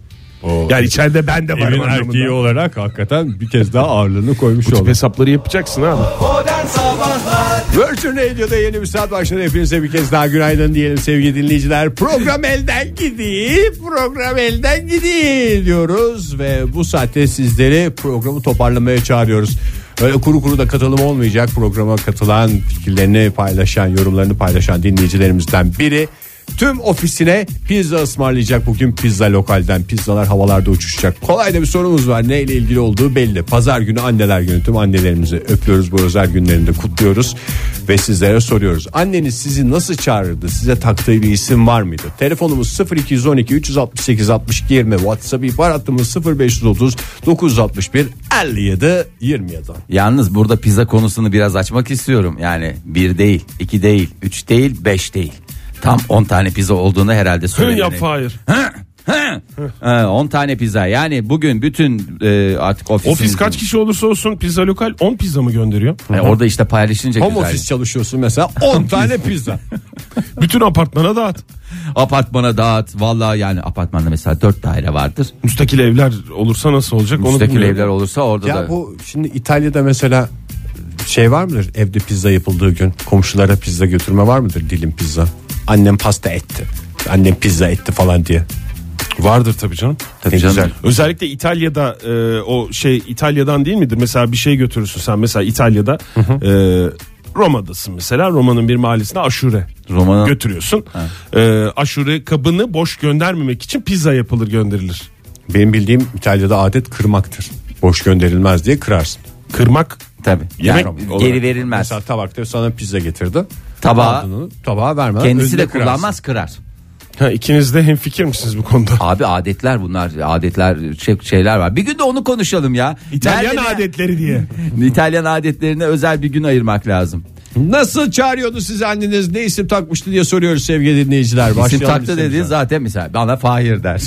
Speaker 5: Yani içeride ben de varım
Speaker 3: Evin
Speaker 5: anlamında.
Speaker 3: erkeği olarak hakikaten bir kez daha ağırlığını koymuş
Speaker 5: Bu tip
Speaker 3: olduk.
Speaker 5: hesapları yapacaksın abi.
Speaker 2: Modern Sabahlar
Speaker 3: Virgin Radio'da yeni bir saat başladı. Hepinize bir kez daha günaydın diyelim sevgili dinleyiciler. Program elden gidiyor, program elden gidiyor diyoruz. Ve bu saatte sizleri programı toparlamaya çağırıyoruz. Öyle kuru kuru da katılım olmayacak. Programa katılan, fikirlerini paylaşan, yorumlarını paylaşan dinleyicilerimizden biri tüm ofisine pizza ısmarlayacak bugün pizza lokalden pizzalar havalarda uçuşacak kolay da bir sorumuz var neyle ilgili olduğu belli pazar günü anneler günü tüm annelerimizi öpüyoruz bu özel günlerinde kutluyoruz ve sizlere soruyoruz anneniz sizi nasıl çağırırdı size taktığı bir isim var mıydı telefonumuz 0212 368 62 20 whatsapp ihbar hattımız 0530 961 57 27
Speaker 4: Yalnız burada pizza konusunu biraz açmak istiyorum. Yani bir değil, iki değil, üç değil, beş değil. Tam 10 tane pizza olduğunu herhalde
Speaker 5: Hı,
Speaker 4: söyleyelim.
Speaker 5: yap hayır.
Speaker 4: 10 tane pizza. Yani bugün bütün e, artık ofis
Speaker 5: Ofis kaç kişi olursa olsun pizza lokal 10 pizza mı gönderiyor?
Speaker 4: E, orada işte paylaşınca
Speaker 3: home
Speaker 4: güzel.
Speaker 3: office çalışıyorsun mesela 10 tane pizza
Speaker 5: Bütün apartmana dağıt.
Speaker 4: Apartmana dağıt. Vallahi yani apartmanda mesela 4 daire vardır.
Speaker 5: Müstakil evler olursa nasıl olacak? onu
Speaker 4: Müstakil
Speaker 5: bilmiyorum.
Speaker 4: evler olursa orada
Speaker 3: Ya
Speaker 4: da.
Speaker 3: bu şimdi İtalya'da mesela şey var mıdır? Evde pizza yapıldığı gün komşulara pizza götürme var mıdır? Dilim pizza. Annem pasta etti. Annem pizza etti falan diye.
Speaker 5: Vardır tabii canım.
Speaker 4: Tabii E canım.
Speaker 3: güzel.
Speaker 5: Özellikle İtalya'da e, o şey İtalya'dan değil midir? Mesela bir şey götürürsün sen mesela İtalya'da e, Roma'dasın mesela Roma'nın bir mahallesine aşure
Speaker 4: Roma'nın-
Speaker 5: götürüyorsun. E, aşure kabını boş göndermemek için pizza yapılır gönderilir.
Speaker 3: Benim bildiğim İtalya'da adet kırmaktır. Boş gönderilmez diye kırarsın.
Speaker 5: Kırmak
Speaker 4: Tabii.
Speaker 5: Yemek
Speaker 4: Yani
Speaker 5: olarak.
Speaker 4: geri verilmez.
Speaker 3: Mesela tabakta sana pizza getirdi.
Speaker 4: Tabağa-
Speaker 3: Aldın onu, tabağa vermeden
Speaker 4: Kendisi
Speaker 3: önüne
Speaker 4: de
Speaker 3: kırarsın.
Speaker 4: kullanmaz kırar.
Speaker 5: ha, ikiniz de hemfikir misiniz bu konuda?
Speaker 4: Abi adetler bunlar adetler şey- şeyler var. Bir gün de onu konuşalım ya.
Speaker 5: İtalyan
Speaker 4: Nerede-
Speaker 5: adetleri diye.
Speaker 4: İtalyan adetlerine özel bir gün ayırmak lazım.
Speaker 3: Nasıl çağırıyordu sizi anneniz? Ne isim takmıştı diye soruyoruz sevgili dinleyiciler.
Speaker 4: İsim
Speaker 3: Başlayalım
Speaker 4: taktı
Speaker 3: isimizden.
Speaker 4: dediğin zaten mesela bana Fahir der.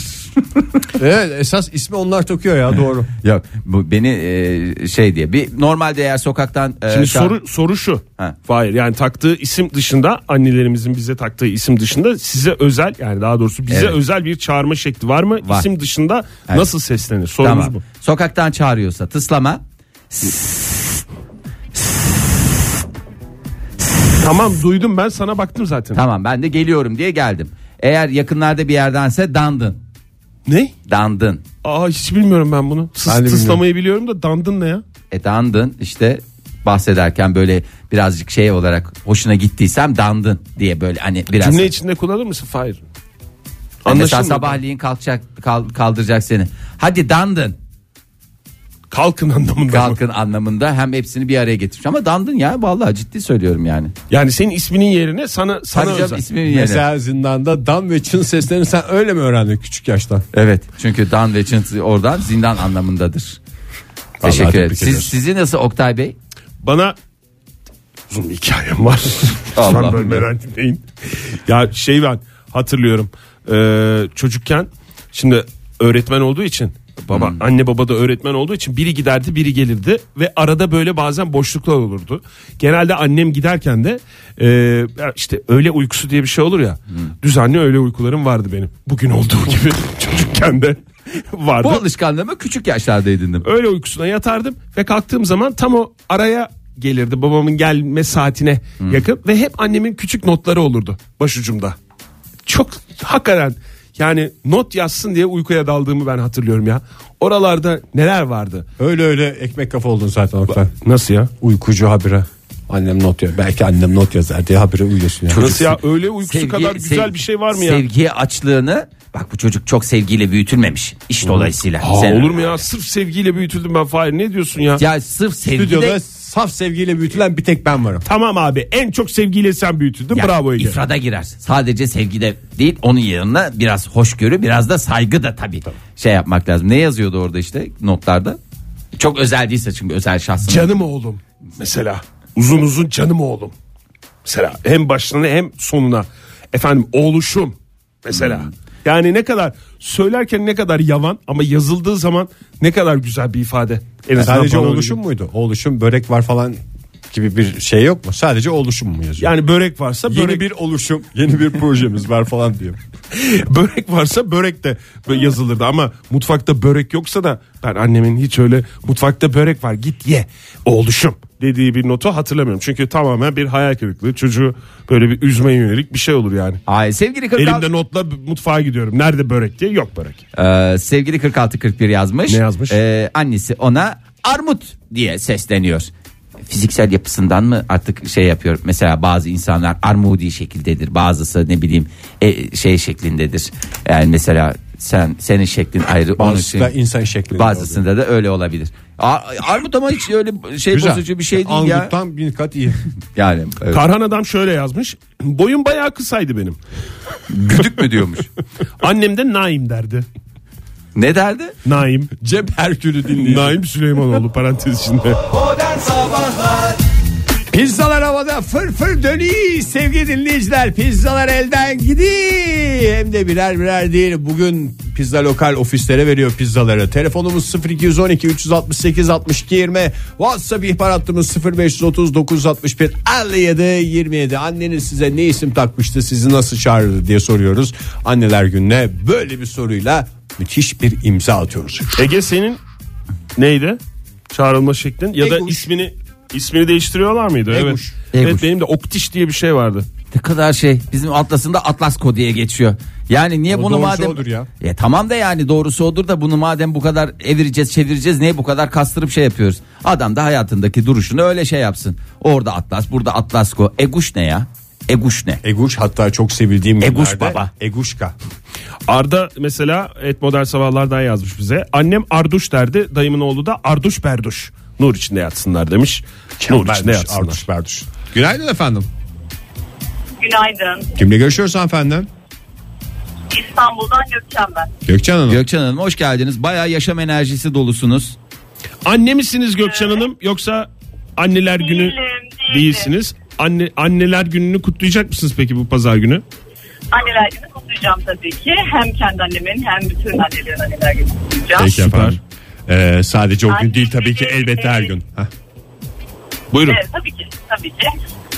Speaker 3: Evet esas ismi onlar takıyor ya doğru.
Speaker 4: Yok bu beni e, şey diye bir normalde eğer sokaktan e,
Speaker 5: Şimdi
Speaker 4: şu an-
Speaker 5: soru soru şu.
Speaker 4: Ha.
Speaker 5: Hayır yani taktığı isim dışında annelerimizin bize taktığı isim dışında size özel yani daha doğrusu bize
Speaker 4: Evet.
Speaker 5: özel bir çağırma şekli var mı?
Speaker 4: Var.
Speaker 5: İsim dışında
Speaker 4: Evet.
Speaker 5: nasıl seslenir? Sorumuz
Speaker 4: tamam.
Speaker 5: bu.
Speaker 4: Sokaktan çağırıyorsa tıslama.
Speaker 5: Tamam duydum ben sana baktım zaten.
Speaker 4: Tamam ben de geliyorum diye geldim. Eğer yakınlarda bir yerdense dandın.
Speaker 5: Ne?
Speaker 4: Dandın.
Speaker 5: Aa hiç bilmiyorum ben bunu. Sıs,
Speaker 3: Ben de
Speaker 5: tıslamayı biliyorum da dandın ne ya?
Speaker 4: E dandın işte bahsederken böyle birazcık şey olarak hoşuna gittiysem dandın diye böyle hani biraz.
Speaker 5: Cümle içinde kullanır mısın? Hayır.
Speaker 4: Yani mesela
Speaker 5: Anlaşılmadı.
Speaker 4: sabahleyin kalkacak kal- kaldıracak seni. Hadi dandın.
Speaker 5: Kalkın anlamında mı?
Speaker 4: Kalkın anlamında hem hepsini bir araya getirmiş ama dandın ya vallahi ciddi söylüyorum yani.
Speaker 5: Yani senin isminin yerine sana sana
Speaker 4: Tabii canım
Speaker 5: özel.
Speaker 4: isminin yerine.
Speaker 3: Mesela zindanda dam ve çın seslerini sen öyle mi öğrendin küçük yaştan?
Speaker 4: Evet. Çünkü dan ve çınt oradan zindan anlamındadır. Teşekkür ederim.
Speaker 3: tebrik
Speaker 4: Siz,
Speaker 3: ediyoruz.
Speaker 4: sizi nasıl Oktay Bey?
Speaker 5: Bana uzun bir hikayem var. Lütfen
Speaker 4: Allah'ım
Speaker 5: böyle merak etmeyin. ya şey ben hatırlıyorum. Ee, çocukken şimdi öğretmen olduğu için baba anne baba da öğretmen olduğu için biri giderdi biri gelirdi ve arada böyle bazen boşluklar olurdu. Genelde annem giderken de e, ya işte öğle uykusu diye bir şey olur ya. Düzenli öğle uykularım vardı benim. Bugün olduğu gibi çocukken de vardı.
Speaker 4: Bu alışkanlığımı küçük yaşlarda edindim.
Speaker 5: Öyle uykusuna yatardım ve kalktığım zaman tam o araya gelirdi babamın gelme saatine yakın ve hep annemin küçük notları olurdu başucumda. Çok hakikaten yani not yazsın diye uykuya daldığımı ben hatırlıyorum ya. Oralarda neler vardı?
Speaker 3: Öyle öyle ekmek kafa oldun zaten Oktay.
Speaker 5: Nasıl ya?
Speaker 3: Uykucu habire. Annem not yazıyor. Belki annem not yazar diye habire uyuyorsun yani.
Speaker 5: Nasıl ya? Öyle uykusu kadar güzel
Speaker 4: sev-
Speaker 5: bir şey var mı ya?
Speaker 4: Sevgiye açlığını bak bu çocuk çok sevgiyle büyütülmemiş. İş dolayısıyla.
Speaker 5: Aa,
Speaker 4: Sen-
Speaker 5: olur mu ya? Sırf sevgiyle büyütüldüm ben Fahir. Ne diyorsun ya?
Speaker 4: Ya sırf sevgi
Speaker 3: Stüdyoda
Speaker 4: de-
Speaker 3: saf sevgiyle büyütülen bir tek ben varım.
Speaker 5: Tamam abi en çok sevgiyle sen büyütüldün
Speaker 4: Ya,
Speaker 5: bravo Ege.
Speaker 4: İfrada girer. Sadece sevgide değil onun yanına biraz hoşgörü biraz da saygı da tabii. Şey yapmak lazım. Ne yazıyordu orada işte notlarda? Çok özel değilse çünkü özel şahsın.
Speaker 5: Canım oğlum mesela uzun uzun canım oğlum. Mesela hem başına hem sonuna. Efendim oğluşum mesela.
Speaker 3: Hmm.
Speaker 5: Yani ne kadar söylerken ne kadar yavan ama yazıldığı zaman ne kadar güzel bir ifade. En azından
Speaker 3: Sadece
Speaker 5: bana öyle
Speaker 3: oluşum
Speaker 5: geliyor.
Speaker 3: muydu? Oluşum börek var falan gibi bir şey yok mu? Sadece oluşum mu yazıyor?
Speaker 5: Yani börek varsa
Speaker 3: yeni
Speaker 5: börek,
Speaker 3: bir oluşum, yeni bir projemiz var falan diyor.
Speaker 5: börek varsa börek de böyle yazılırdı ama mutfakta börek yoksa da ben annemin hiç öyle mutfakta börek var git ye oğluşum dediği bir notu hatırlamıyorum. Çünkü tamamen bir hayal kırıklığı çocuğu böyle bir üzmeye yönelik bir şey olur yani.
Speaker 4: Ay sevgili 46
Speaker 5: Elimde notla mutfağa gidiyorum. Nerede börek diye yok börek.
Speaker 4: Ee, sevgili 4641 yazmış.
Speaker 5: Ne yazmış?
Speaker 4: Ee, annesi ona armut diye sesleniyor. Fiziksel yapısından mı artık şey yapıyor. Mesela bazı insanlar armudi şekildedir. Bazısı ne bileyim e, şey şeklindedir. Yani mesela sen senin şeklin ayrı. onun
Speaker 3: Bazısı da insan şeklinde
Speaker 4: Bazısında da öyle olabilir. Ar- armut ama hiç öyle şey bozucu bir şey değil ya.
Speaker 3: Angut'tan bin kat iyi.
Speaker 4: Yani evet.
Speaker 5: Karhan adam şöyle yazmış. Boyum bayağı kısaydı benim.
Speaker 4: güdük mü diyormuş.
Speaker 5: Annem de Naim derdi.
Speaker 4: ne derdi?
Speaker 5: Naim.
Speaker 3: Cem Herkül'ü dinleyin.
Speaker 5: Naim Süleymanoğlu parantez içinde.
Speaker 2: Modern Sabahlar
Speaker 3: Pizzalar havada fır fır dönüyor sevgili dinleyiciler. Pizzalar elden gidiyor. Hem de birer birer değil. Bugün pizza lokal ofislere veriyor pizzaları. Telefonumuz 0212 368 62 20. WhatsApp ihbar hattımız 0530 961 57 27. Anneniz size ne isim takmıştı sizi nasıl çağırdı diye soruyoruz. Anneler gününe böyle bir soruyla müthiş bir imza atıyoruz.
Speaker 5: Ege senin neydi? Çağrılma şeklin ya da
Speaker 3: Eguş.
Speaker 5: ismini ismini değiştiriyorlar mıydı?
Speaker 3: Eguş.
Speaker 5: Evet.
Speaker 4: Eguş.
Speaker 5: Evet benim de Oktiş diye bir şey vardı.
Speaker 4: Ne kadar şey bizim Atlas'ında Atlas Ko diye geçiyor. Yani niye
Speaker 3: Ama
Speaker 4: bunu
Speaker 3: doğrusu
Speaker 4: madem
Speaker 3: odur ya.
Speaker 4: E, tamam da yani doğrusu odur da bunu madem bu kadar evireceğiz çevireceğiz niye bu kadar kastırıp şey yapıyoruz? Adam da hayatındaki duruşunu öyle şey yapsın. Orada Atlas burada Atlas Ko. Eguş ne ya? Eguş ne?
Speaker 3: Eguş hatta çok sevildiğim
Speaker 4: Eguş
Speaker 3: günlerde
Speaker 4: baba.
Speaker 3: Eguşka.
Speaker 5: Arda mesela et modern sabahlardan yazmış bize. Annem Arduş derdi. Dayımın oğlu da Arduş Berduş. Nur içinde yatsınlar demiş. Nur içinde
Speaker 3: Berduş,
Speaker 5: yatsınlar.
Speaker 3: Arduş Berduş. Günaydın efendim.
Speaker 8: Günaydın.
Speaker 3: Kimle görüşüyoruz hanımefendi?
Speaker 8: İstanbul'dan Gökçen ben.
Speaker 3: Gökçen Hanım.
Speaker 4: Gökçen Hanım hoş geldiniz. Bayağı yaşam enerjisi dolusunuz.
Speaker 5: Anne misiniz Gökçen Hanım yoksa anneler günü
Speaker 8: Değilim, değilim.
Speaker 5: değilsiniz? Anne anneler gününü kutlayacak mısınız peki bu pazar günü?
Speaker 8: Anneler günü kutlayacağım tabii ki. Hem kendi annemin hem bütün annelerin anneler günü kutlayacağım.
Speaker 3: Peki efendim. Ee, sadece o gün
Speaker 8: Anne
Speaker 3: değil tabii ki
Speaker 8: günü,
Speaker 3: elbette her
Speaker 8: evet.
Speaker 3: gün. Hah.
Speaker 5: Buyurun.
Speaker 8: Evet, Ee, tabii ki, tabii ki.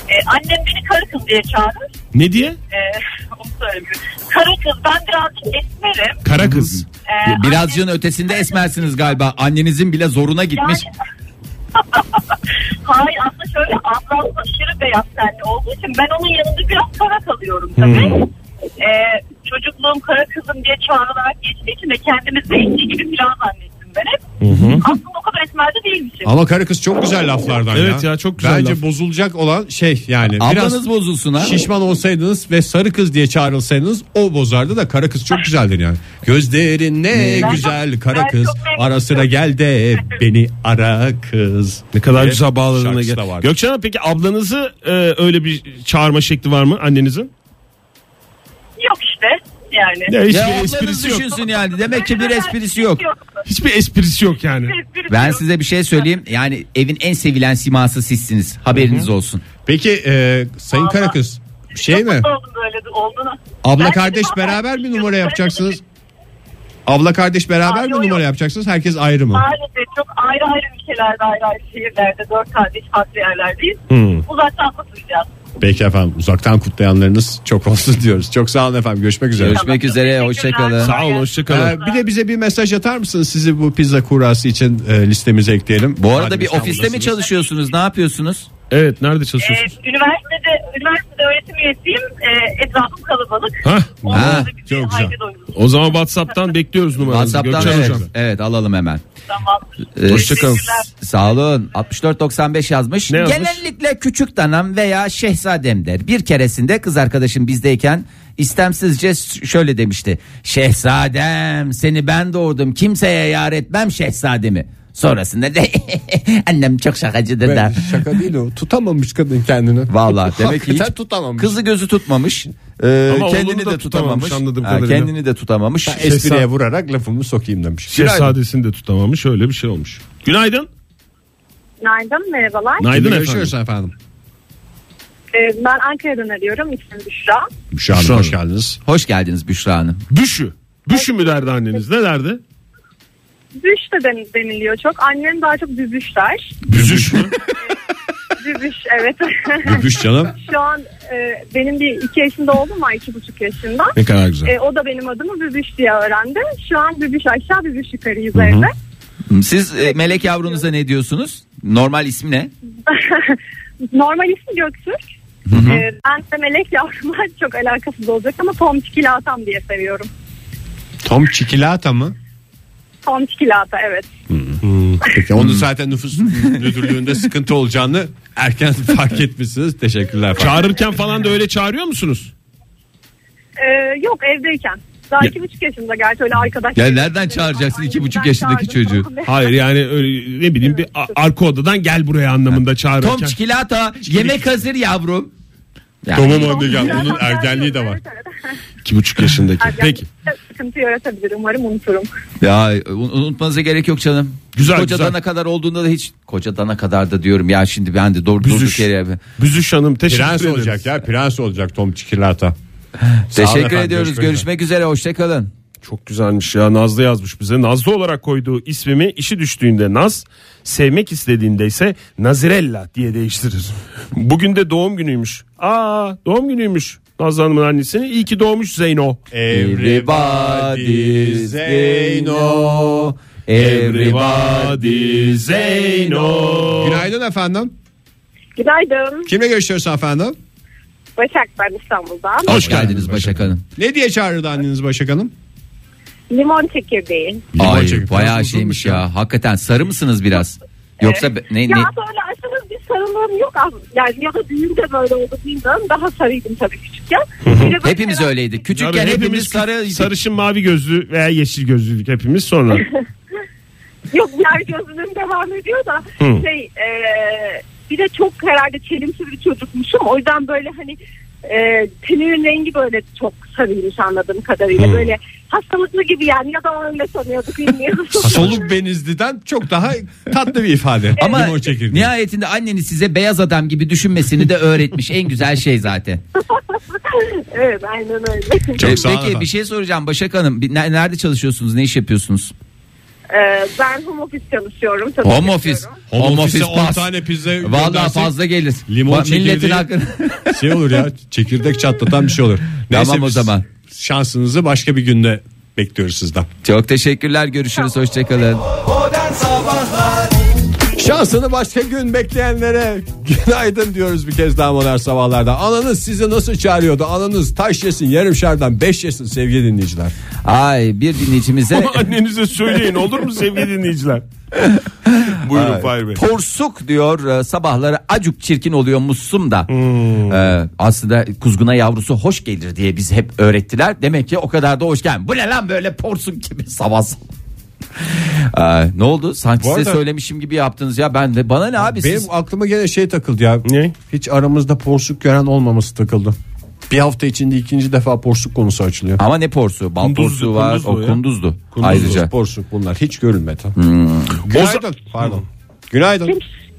Speaker 8: Ee, annem beni karı kız diye çağırır.
Speaker 5: Ne diye?
Speaker 8: Ee, onu söyleyeyim. Karı kız ben birazcık esmerim.
Speaker 5: Kara kız.
Speaker 8: Ee,
Speaker 4: Birazcığın
Speaker 8: annem-
Speaker 4: ötesinde esmersiniz galiba. Annenizin bile zoruna gitmiş.
Speaker 8: Yani- Hayır aslında şöyle ablam aşırı beyaz tenli olduğu için ben onun yanında biraz kara kalıyorum tabii.
Speaker 4: Hmm.
Speaker 8: Ee, çocukluğum kara kızım diye çağrılarak geçtiği için de kendimi zeytin gibi filan zannettim ben hep. Aslında o kadar esmerde değilmişim.
Speaker 3: Ama karı kız çok güzel laflardan ya.
Speaker 5: Evet ya, çok güzel
Speaker 3: Bence
Speaker 5: laf.
Speaker 3: bozulacak olan şey yani.
Speaker 4: Ablanız bozulsun ha.
Speaker 3: biraz şişman olsaydınız ve sarı kız diye çağrılsaydınız o bozardı da kara kız çok güzeldir yani. Gözlerin ne
Speaker 8: Ben-
Speaker 3: güzel kara
Speaker 8: ben
Speaker 3: kız
Speaker 8: çok memnunum.
Speaker 3: arasına gel de beni ara kız.
Speaker 5: Ne kadar
Speaker 3: diye
Speaker 5: güzel bağladığına
Speaker 3: şarkısı
Speaker 5: gel.
Speaker 3: da vardı.
Speaker 5: Gökçen Hanım peki ablanızı e, öyle bir çağırma şekli var mı annenizin?
Speaker 8: Yok işte yani.
Speaker 5: Ya hiçbir
Speaker 4: Ya ablanız
Speaker 5: esprisi yok.
Speaker 4: düşünsün yani. Demek ki bir esprisi yok.
Speaker 5: Hiçbir esprisi yok yani.
Speaker 8: Esprisi
Speaker 4: Ben
Speaker 8: yok.
Speaker 4: size bir şey söyleyeyim. Yani evin en sevilen siması sizsiniz. Haberiniz olsun.
Speaker 3: Peki e, sayın
Speaker 8: Vallahi-
Speaker 3: kara kız şey
Speaker 8: Çok
Speaker 3: mi?
Speaker 8: mutlu oldum böyle de olduğuna.
Speaker 3: Abla
Speaker 8: Ben
Speaker 3: kardeş
Speaker 8: dedim,
Speaker 3: beraber mi
Speaker 8: "Aa,
Speaker 3: numara
Speaker 8: ben
Speaker 3: yapacaksınız?
Speaker 8: dedim,
Speaker 3: Abla kardeş beraber
Speaker 8: Aa,
Speaker 3: mi
Speaker 8: yok,
Speaker 3: numara
Speaker 8: yok.
Speaker 3: yapacaksınız? Herkes ayrı mı?
Speaker 8: Maalesef çok ayrı ayrı ülkelerde ayrı ayrı şehirlerde dört kardeş farklı yerlerdeyiz. Uzaktan kutlayacağız.
Speaker 3: Peki efendim uzaktan kutlayanlarınız çok olsun diyoruz. Çok sağ olun efendim görüşmek üzere.
Speaker 4: Görüşmek
Speaker 8: Tamam, çok
Speaker 4: üzere,
Speaker 8: teşekkürler.
Speaker 4: hoşçakalın.
Speaker 5: Sağ olun hoşçakalın.
Speaker 3: Ee, bir de bize bir mesaj atar mısınız? Sizi bu pizza kurası için e, listemize ekleyelim.
Speaker 4: Bu arada
Speaker 3: Madem
Speaker 4: bir ofiste mi
Speaker 3: İstanbul'dasınız.
Speaker 4: çalışıyorsunuz? Ne yapıyorsunuz?
Speaker 5: Evet nerede
Speaker 8: Ee,
Speaker 5: çalışıyorsunuz?
Speaker 8: üniversitede, üniversitede öğretim üyesiyim. Ee, etrafım kalabalık.
Speaker 5: Hah,
Speaker 8: Onun
Speaker 4: ha,
Speaker 8: da bir
Speaker 3: çok
Speaker 8: haydi
Speaker 3: güzel.
Speaker 8: doyurun.
Speaker 5: O zaman WhatsApp'tan bekliyoruz numaranızı.
Speaker 4: WhatsApp'tan
Speaker 5: Gökçen
Speaker 4: evet.
Speaker 5: Hocam.
Speaker 4: Evet alalım hemen.
Speaker 8: Tamam.
Speaker 4: Ee,
Speaker 5: Hoşçakalın.
Speaker 8: Teşekkürler.
Speaker 4: Sağ olun. 6495 yazmış.
Speaker 5: Ne yazmış?
Speaker 4: Genellikle küçük danam veya şehzadem der. Bir keresinde kız arkadaşım bizdeyken istemsizce ş- şöyle demişti. Şehzadem seni ben doğurdum kimseye yar etmem şehzademi. Sonrasında de annem çok şakacıdır
Speaker 3: Ben-
Speaker 4: da.
Speaker 3: Şaka değil o. Tutamamış kadın kendini.
Speaker 4: Vallahi demek ki
Speaker 3: Hakikaten
Speaker 4: hiç
Speaker 3: tutamamış.
Speaker 4: kızı gözü tutmamış. Ee,
Speaker 5: Ama oğlunu
Speaker 4: kendini
Speaker 5: da
Speaker 4: de tutamamış.
Speaker 5: tutamamış, anladığım
Speaker 4: Ha,
Speaker 5: kadarıyla.
Speaker 4: kendini de tutamamış.
Speaker 3: Espriye vurarak lafımı sokayım demiş.
Speaker 5: Şehzadesini de tutamamış öyle bir şey olmuş. Günaydın.
Speaker 8: Günaydın merhabalar.
Speaker 5: Günaydın
Speaker 3: Kimle
Speaker 5: efendim.
Speaker 3: görüşüyoruz efendim.
Speaker 8: Ee, ben Ankara'dan arıyorum. İsmim Büşra.
Speaker 3: Büşra Hanım hoş geldiniz.
Speaker 4: Hoş geldiniz Büşra Hanım.
Speaker 5: Büşü. Büşü mü derdi anneniz? Ne derdi?
Speaker 8: Büş de den- deniliyor çok. Annem daha çok bübüş der.
Speaker 5: Büzüş mü?
Speaker 8: Bübüş evet.
Speaker 3: Bübüş canım.
Speaker 8: Şu an e, benim bir iki yaşında oğlum var iki buçuk yaşında.
Speaker 3: Ne kadar güzel.
Speaker 8: E, o da benim adımı Bübüş diye öğrendi. Şu an Bübüş aşağı Bübüş yukarıyız evde.
Speaker 4: Siz e, melek yavrunuza ne diyorsunuz? Normal ismi ne?
Speaker 8: Normal ismi Göktürk. E, ben de melek yavruma çok alakasız olacak ama Tom Çikilatan diye seviyorum.
Speaker 3: Tom Çikilata mı?
Speaker 8: Tom Çikilata evet.
Speaker 3: Peki
Speaker 5: Hmm.
Speaker 3: onu E, zaten nüfus müdürlüğünde sıkıntı olacağını erken fark etmişsiniz. Teşekkürler.
Speaker 5: Çağırırken falan da öyle çağırıyor musunuz?
Speaker 8: E, yok evdeyken. Daha iki buçuk yaşında gerçi öyle arkadaş.
Speaker 4: Ya nereden çağıracaksın iki buçuk yaşındaki çocuğu?
Speaker 5: Hayır yani öyle ne bileyim bir a- arka odadan gel buraya anlamında çağırırken.
Speaker 4: Tom Çikilata yemek hazır yavrum. Yani,
Speaker 5: anne İki buçuk yaşındaki. er- Peki.
Speaker 8: Peki. Sıkıntı yaratabilir umarım unuturum.
Speaker 4: Ya un- unutmanıza gerek yok canım.
Speaker 5: Güzel,
Speaker 4: Koca
Speaker 5: güzel.
Speaker 4: dana kadar olduğunda da hiç koca dana kadar da diyorum ya şimdi ben de doğru durduk
Speaker 5: Büzüş.
Speaker 4: yere.
Speaker 5: Büzüş Hanım teşekkür
Speaker 3: Prens
Speaker 5: ederiz.
Speaker 3: olacak ya prens olacak Tom Çikilata.
Speaker 4: Teşekkür
Speaker 3: efendim,
Speaker 4: ediyoruz.
Speaker 3: görüşmek üzere.
Speaker 4: Görüşmek üzere. Hoşçakalın.
Speaker 5: Çok güzelmiş ya Nazlı yazmış bize. Nazlı olarak koyduğu ismimi işi düştüğünde Naz, sevmek istediğinde ise Nazirella diye değiştirir. Bugün de doğum günüymüş. Aa doğum günüymüş Nazlı Hanım'ın annesinin. İyi ki doğmuş Zeyno.
Speaker 4: Everybody's Zeyno.
Speaker 5: Everybody Zeyno.
Speaker 3: Günaydın efendim.
Speaker 8: Günaydın.
Speaker 3: Kimle görüşüyoruz efendim?
Speaker 8: Başak ben İstanbul'dan.
Speaker 4: Hoş geldiniz Başak Hanım.
Speaker 3: Ne diye çağırırdı anneniz Başak Hanım?
Speaker 8: Limon çekirdeği.
Speaker 4: Ay
Speaker 3: çekirdeği.
Speaker 4: bayağı
Speaker 3: Biraz
Speaker 4: şeymiş
Speaker 3: uzunmuş
Speaker 4: ya.
Speaker 3: ya.
Speaker 4: Hakikaten sarı mısınız biraz? Yoksa be- ne,
Speaker 8: Ya
Speaker 4: ne?
Speaker 8: böyle aşırı bir sarılığım yok ama yani ya da düğünde böyle oldu bilmiyorum. Daha sarıydım tabii küçükken. Bir de böyle
Speaker 4: Hepimiz
Speaker 8: herhalde-
Speaker 4: öyleydik. Küçükken
Speaker 5: Tabii
Speaker 4: hepimiz,
Speaker 5: hepimiz
Speaker 4: sarı.
Speaker 5: sarışın mavi gözlü veya yeşil gözlüydük hepimiz sonra.
Speaker 8: Yok yer gözlüğüm devam ediyor da şey eee, bir de çok herhalde çelimsiz bir çocukmuşum. O yüzden böyle hani eee tenimin rengi böyle çok sarıymış anladığım kadarıyla. Böyle hastalıklı gibi yani ya da öyle sanıyorduk bilmiyorum.
Speaker 3: Soluk benizliden çok daha tatlı bir ifade.
Speaker 4: Ama
Speaker 3: Limon çekirdeği.
Speaker 4: nihayetinde anneniz size beyaz adam gibi düşünmesini de öğretmiş. en güzel şey zaten.
Speaker 8: evet aynen öyle.
Speaker 3: Çok
Speaker 4: Ee,
Speaker 3: sağ olun
Speaker 4: Peki bir
Speaker 3: efendim.
Speaker 4: şey soracağım Başak Hanım. Bir- ne- Nerede çalışıyorsunuz? Ne iş yapıyorsunuz?
Speaker 8: Eee, E, ben home office çalışıyorum. tabii
Speaker 4: Home
Speaker 8: ki
Speaker 4: office.
Speaker 8: diyorum.
Speaker 3: Home office
Speaker 4: pas.
Speaker 3: 10 tane pizza
Speaker 4: Vallahi
Speaker 3: göndersek
Speaker 4: fazla gelir.
Speaker 3: Limon
Speaker 4: Bak, milletin
Speaker 3: çekirdeği-
Speaker 4: hakkını.
Speaker 3: şey olur ya çekirdek çatlatan bir şey olur.
Speaker 4: Tamam o
Speaker 3: biz
Speaker 4: zaman.
Speaker 3: Şansınızı başka bir günde bekliyoruz sizden.
Speaker 4: Çok teşekkürler. Görüşürüz. Hoşçakalın.
Speaker 2: Modern Sabahlar
Speaker 3: Şansını başka gün bekleyenlere günaydın diyoruz bir kez daha modern sabahlarda. Ananız sizi nasıl çağırıyordu? Ananız taş yesin yarım şardan beş yesin sevgili dinleyiciler.
Speaker 4: Ay bir dinleyicimize
Speaker 5: Annenize söyleyin olur mu sevgili dinleyiciler? Buyurun Fahir Bey.
Speaker 4: Porsuk diyor e, sabahları acuk çirkin oluyor mussum da.
Speaker 3: Hmm.
Speaker 4: E, aslında kuzguna yavrusu hoş gelir diye biz hep öğrettiler. Demek ki o kadar da hoş gelmiyor. Bu ne lan böyle porsuk gibi sabah sabah. E, ne oldu? Sanki
Speaker 3: Bu
Speaker 4: size
Speaker 3: arada-
Speaker 4: söylemişim gibi yaptınız ya ben de. Bana ne abi
Speaker 3: Benim
Speaker 4: siz?
Speaker 3: aklıma gene şey takıldı ya.
Speaker 5: Ne?
Speaker 3: Hiç aramızda porsuk gören olmaması takıldı. Bir hafta içinde ikinci defa porsuk konusu açılıyor.
Speaker 4: Ama ne porsu? Bal
Speaker 5: Kunduzdu,
Speaker 4: porsuğu var.
Speaker 5: kunduzdu
Speaker 4: o
Speaker 5: ya.
Speaker 4: kunduzdu. Ayrıca.
Speaker 3: Porsuk bunlar hiç görülmedi. Günaydın. Pardon. Günaydın.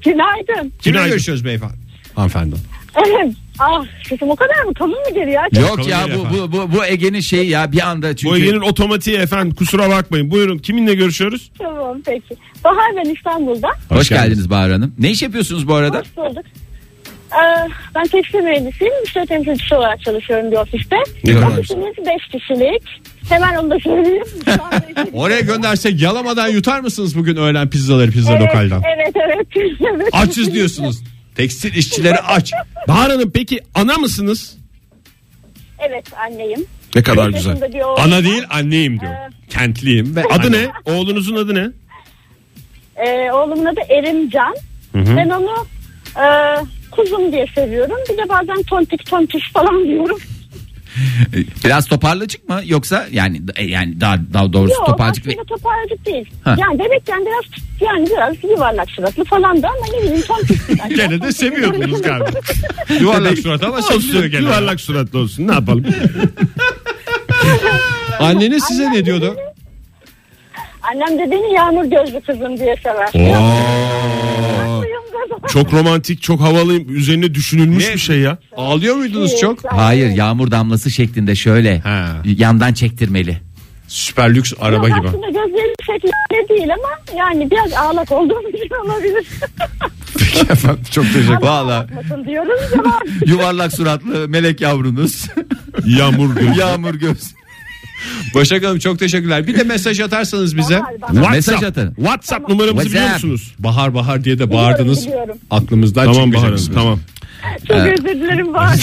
Speaker 8: Günaydın.
Speaker 3: Kimle
Speaker 5: Günaydın.
Speaker 3: görüşüyoruz beyefendi? Hanımefendi.
Speaker 8: ah sesim o kadar mı kalın mı geri ya?
Speaker 4: Yok
Speaker 5: Bakalım
Speaker 4: ya
Speaker 5: neyle
Speaker 4: bu, bu, bu, bu Ege'nin şeyi ya bir anda çünkü.
Speaker 5: Bu Ege'nin otomatiği efendim kusura bakmayın. Buyurun kiminle görüşüyoruz?
Speaker 8: Tamam peki. Bahar ben İstanbul'da.
Speaker 4: Hoş,
Speaker 3: Hoş
Speaker 4: geldiniz.
Speaker 3: geldiniz.
Speaker 4: Bahar Hanım. Ne iş yapıyorsunuz bu arada?
Speaker 8: Hoş bulduk. Ee, ben tekstil mühendisiyim. Müşteri temsilcisi olarak çalışıyorum bir ofiste.
Speaker 4: kadar
Speaker 8: Ofisimiz 5 kişilik. Hemen onu da söyleyeyim. Şu anda beş kişilik.
Speaker 3: Oraya göndersek yalamadan yutar mısınız bugün öğlen pizzaları pizza
Speaker 8: evet,
Speaker 3: lokaldan?
Speaker 8: evet, evet, evet.
Speaker 3: Açız diyorsunuz. Tekstil işçileri aç.
Speaker 5: Bahar Hanım peki ana mısınız?
Speaker 8: Evet anneyim.
Speaker 5: Ne kadar
Speaker 8: Beş yaşında bir oğlum var.
Speaker 3: Ana değil anneyim diyor. Kentliyim ve
Speaker 5: Ee, Adı ne? Oğlunuzun adı ne?
Speaker 8: Ee, oğlumun adı Erimcan. Ben onu e, kuzum diye seviyorum. Bir de bazen tontik tontiş falan diyorum.
Speaker 4: Biraz toparlacık mı yoksa yani e, yani daha daha doğrusu
Speaker 8: Yok
Speaker 4: toparlacık ve-
Speaker 8: aslında toparcık değil.
Speaker 4: Ha.
Speaker 8: Yani bebekken biraz yani biraz yuvarlak suratlı falan da ama ne bileyim tam... Yani
Speaker 6: Gene de
Speaker 8: çok-
Speaker 6: seviyordunuz galiba.
Speaker 5: Yuvarlak
Speaker 4: Bebek-
Speaker 5: surat ama
Speaker 6: Olsun,
Speaker 5: seviliyor gene. Yuvarlak suratlı olsun ne yapalım.
Speaker 6: Anneniz size ne diyordu?
Speaker 8: Annem de beni yağmur gözlü kızım diye sever.
Speaker 5: çok romantik çok havalıyım üzerine düşünülmüş bir şey ya.
Speaker 6: Ağlıyor muydunuz çok?
Speaker 4: Hayır yağmur damlası şeklinde şöyle
Speaker 6: Ha.
Speaker 4: yandan çektirmeli.
Speaker 6: Süper lüks araba gibi.
Speaker 8: Aslında gözlerim şeklinde değil ama yani biraz ağlak olduğum için olabilir.
Speaker 4: Çok teşekkür Valla
Speaker 8: Bakın diyoruz ama
Speaker 4: yuvarlak suratlı melek yavrunuz
Speaker 5: Yağmur gözü.
Speaker 4: yağmur göz.
Speaker 6: Başak Hanım çok teşekkürler. Bir de mesaj atarsanız bize.
Speaker 4: Mesaj atın.
Speaker 5: WhatsApp numaramızı biliyor
Speaker 4: WhatsApp.
Speaker 5: musunuz?
Speaker 6: Bahar bahar diye de bağırdınız.
Speaker 8: Biliyorum, biliyorum.
Speaker 6: Aklımızdan
Speaker 5: Tamam
Speaker 6: çıkmayacak
Speaker 5: Bahar Hanım
Speaker 6: ismi.
Speaker 5: tamam.
Speaker 8: çok özür dilerim var.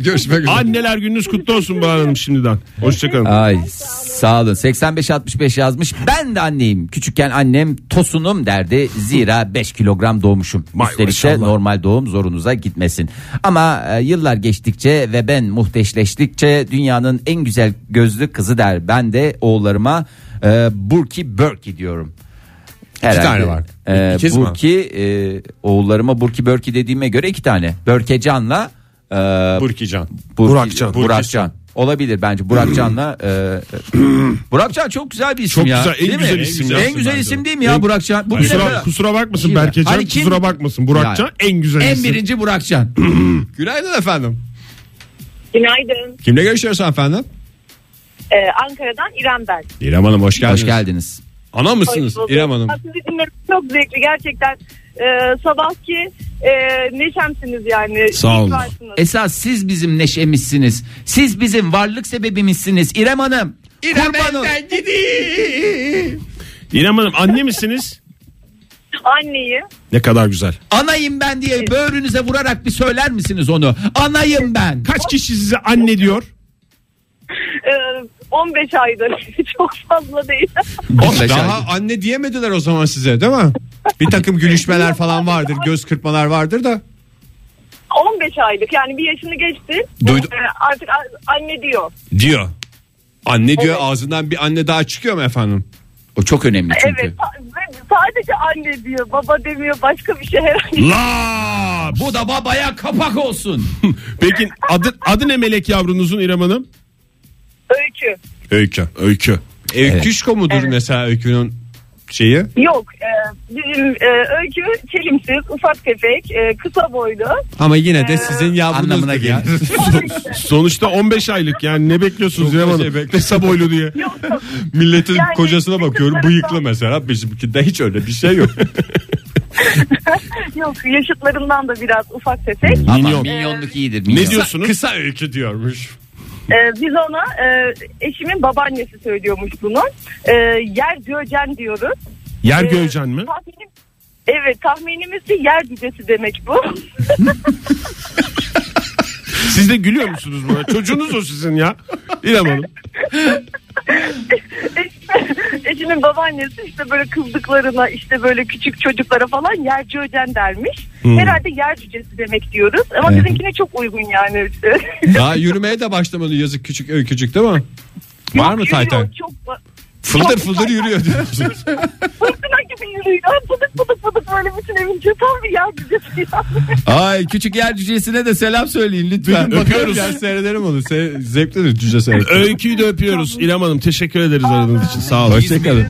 Speaker 6: Görüşmek üzere.
Speaker 5: Anneler gününüz kutlu olsun Bahar Hanım şimdiden. Hoşçakalın.
Speaker 4: Ay sağ olun 85-65 yazmış ben de anneyim küçükken annem tosunum derdi zira 5 kilogram doğmuşum
Speaker 5: Vay
Speaker 4: üstelik de
Speaker 5: maşallah.
Speaker 4: normal doğum zorunuza gitmesin ama e, yıllar geçtikçe ve ben muhteşleştikçe dünyanın en güzel gözlü kızı der ben de oğullarıma e, Burki Burki diyorum.
Speaker 6: tane var.
Speaker 4: e,
Speaker 6: İkiz mi?
Speaker 4: Burki e, oğullarıma Burki Burki dediğime göre iki tane. Börkecan'la e,
Speaker 6: Burkican.
Speaker 4: Burki-
Speaker 6: Burakcan.
Speaker 4: Burakcan. Olabilir bence Burakcan'la. e, Burakcan çok güzel bir isim
Speaker 5: Çok
Speaker 4: ya.
Speaker 5: güzel, en
Speaker 4: Değil mi?
Speaker 5: güzel isim ya.
Speaker 4: En güzel isim değil mi ya Burakcan? Bugüne
Speaker 5: Kusura,
Speaker 4: kadar-
Speaker 5: kusura bakmasın
Speaker 4: Kim-
Speaker 5: Berkecan.
Speaker 4: Hani kim-
Speaker 5: Kusura bakmasın Burakcan.
Speaker 4: Yani.
Speaker 5: En güzel
Speaker 4: En
Speaker 5: isim.
Speaker 4: birinci Burakcan.
Speaker 6: Günaydın efendim.
Speaker 9: Günaydın.
Speaker 6: Kimle görüşüyoruz efendim?
Speaker 9: Ee, Ankara'dan İrem ben.
Speaker 6: İrem Hanım hoş geldiniz.
Speaker 4: Hoş geldiniz.
Speaker 6: Ana
Speaker 9: Hoş
Speaker 6: mısınız
Speaker 9: bulduk.
Speaker 6: İrem Hanım?
Speaker 9: Sizi dinlemek çok zevkli gerçekten. Ee, sabahki e, neşemsiniz yani.
Speaker 6: Sağ olun.
Speaker 9: İyi varsınız.
Speaker 4: Esas siz bizim neşemizsiniz. Siz bizim varlık sebebimizsiniz. İrem Hanım. İrem Hanım.
Speaker 5: İrem Hanım anne misiniz?
Speaker 9: Anneyi.
Speaker 5: Ne kadar güzel.
Speaker 4: Anayım ben diye böğrünüze vurarak bir söyler misiniz onu? Anayım ben.
Speaker 5: Kaç kişi size anne diyor?
Speaker 9: e, 15 aydır. çok fazla değil.
Speaker 4: Beş
Speaker 6: Daha
Speaker 4: ay.
Speaker 6: anne diyemediler o zaman size değil mi? Bir takım gülüşmeler falan vardır, göz kırpmalar vardır da.
Speaker 9: 15 aylık yani bir yaşını geçti.
Speaker 6: Duydum.
Speaker 9: Ee, artık a- anne diyor.
Speaker 6: Diyor. Anne diyor ağzından bir anne daha çıkıyor mu efendim?
Speaker 4: O çok önemli çünkü.
Speaker 9: Evet sa- ve sadece anne diyor. Baba demiyor başka bir şey herhangi.
Speaker 5: La.
Speaker 4: Bu da babaya kapak olsun.
Speaker 5: Peki adı, adı ne melek yavrunuzun İrem Hanım?
Speaker 9: Öykü.
Speaker 6: Öykü. Öykü. Öyküşko mudur mesela öykünün şeyi?
Speaker 9: Yok. e, bizim e, öykü çelimsiz, ufak tefek, e, kısa boylu.
Speaker 6: Ama yine de sizin yavrunuz
Speaker 4: Anlamına
Speaker 6: ya.
Speaker 4: gelir.
Speaker 5: Sonuçta 15 aylık yani ne bekliyorsunuz İrem
Speaker 6: Çok
Speaker 5: Hanım?
Speaker 6: şey Kısa boylu diye. Milletin
Speaker 9: Yani-
Speaker 6: kocasına bakıyorum bıyıklı mesela bizimkinde hiç öyle bir şey yok.
Speaker 9: Yok yaşıtlarından da biraz ufak tefek.
Speaker 4: Ama milyonluk iyidir.
Speaker 5: Ne
Speaker 4: minyon.
Speaker 5: diyorsunuz?
Speaker 6: Kısa öykü diyormuş.
Speaker 9: Ee, biz ona e, eşimin babaannesi söylüyormuş bunu. Ee, yer göcen diyoruz.
Speaker 5: Yer
Speaker 9: Ee,
Speaker 5: göğecen mi?
Speaker 9: Tahminim, evet tahminimiz de yer cücesi demek bu.
Speaker 5: Siz de gülüyor musunuz buna? Çocuğunuz o sizin ya. İrem Hanım.
Speaker 9: Eşimin babaannesi işte böyle kızdıklarına işte böyle küçük çocuklara falan yer göcen dermiş. Herhalde yer cücesi demek diyoruz. Ama bizimkine çok uygun yani.
Speaker 6: Daha yürümeye de başlamadı yazık küçük öykücük değil mi? Var mı
Speaker 9: Yürüyor,
Speaker 6: Taytay?
Speaker 9: Çok
Speaker 6: Fıldır
Speaker 9: Yok,
Speaker 6: fıldır yürüyor diyorsunuz.
Speaker 9: fırtına gibi yürüyor. Pıdık pıdık pıdık böyle bütün evince tam bir yer cücesi yani.
Speaker 4: Ay küçük yer cücesine de selam söyleyin lütfen.
Speaker 6: Öpüyoruz. Ya seyredelim onu. Se- Zevklidir cüce seyretmek.
Speaker 5: Öyküyü de öpüyoruz. İrem Hanım teşekkür ederiz aradığınız için. Sağ olun.
Speaker 6: Hoşçakalın.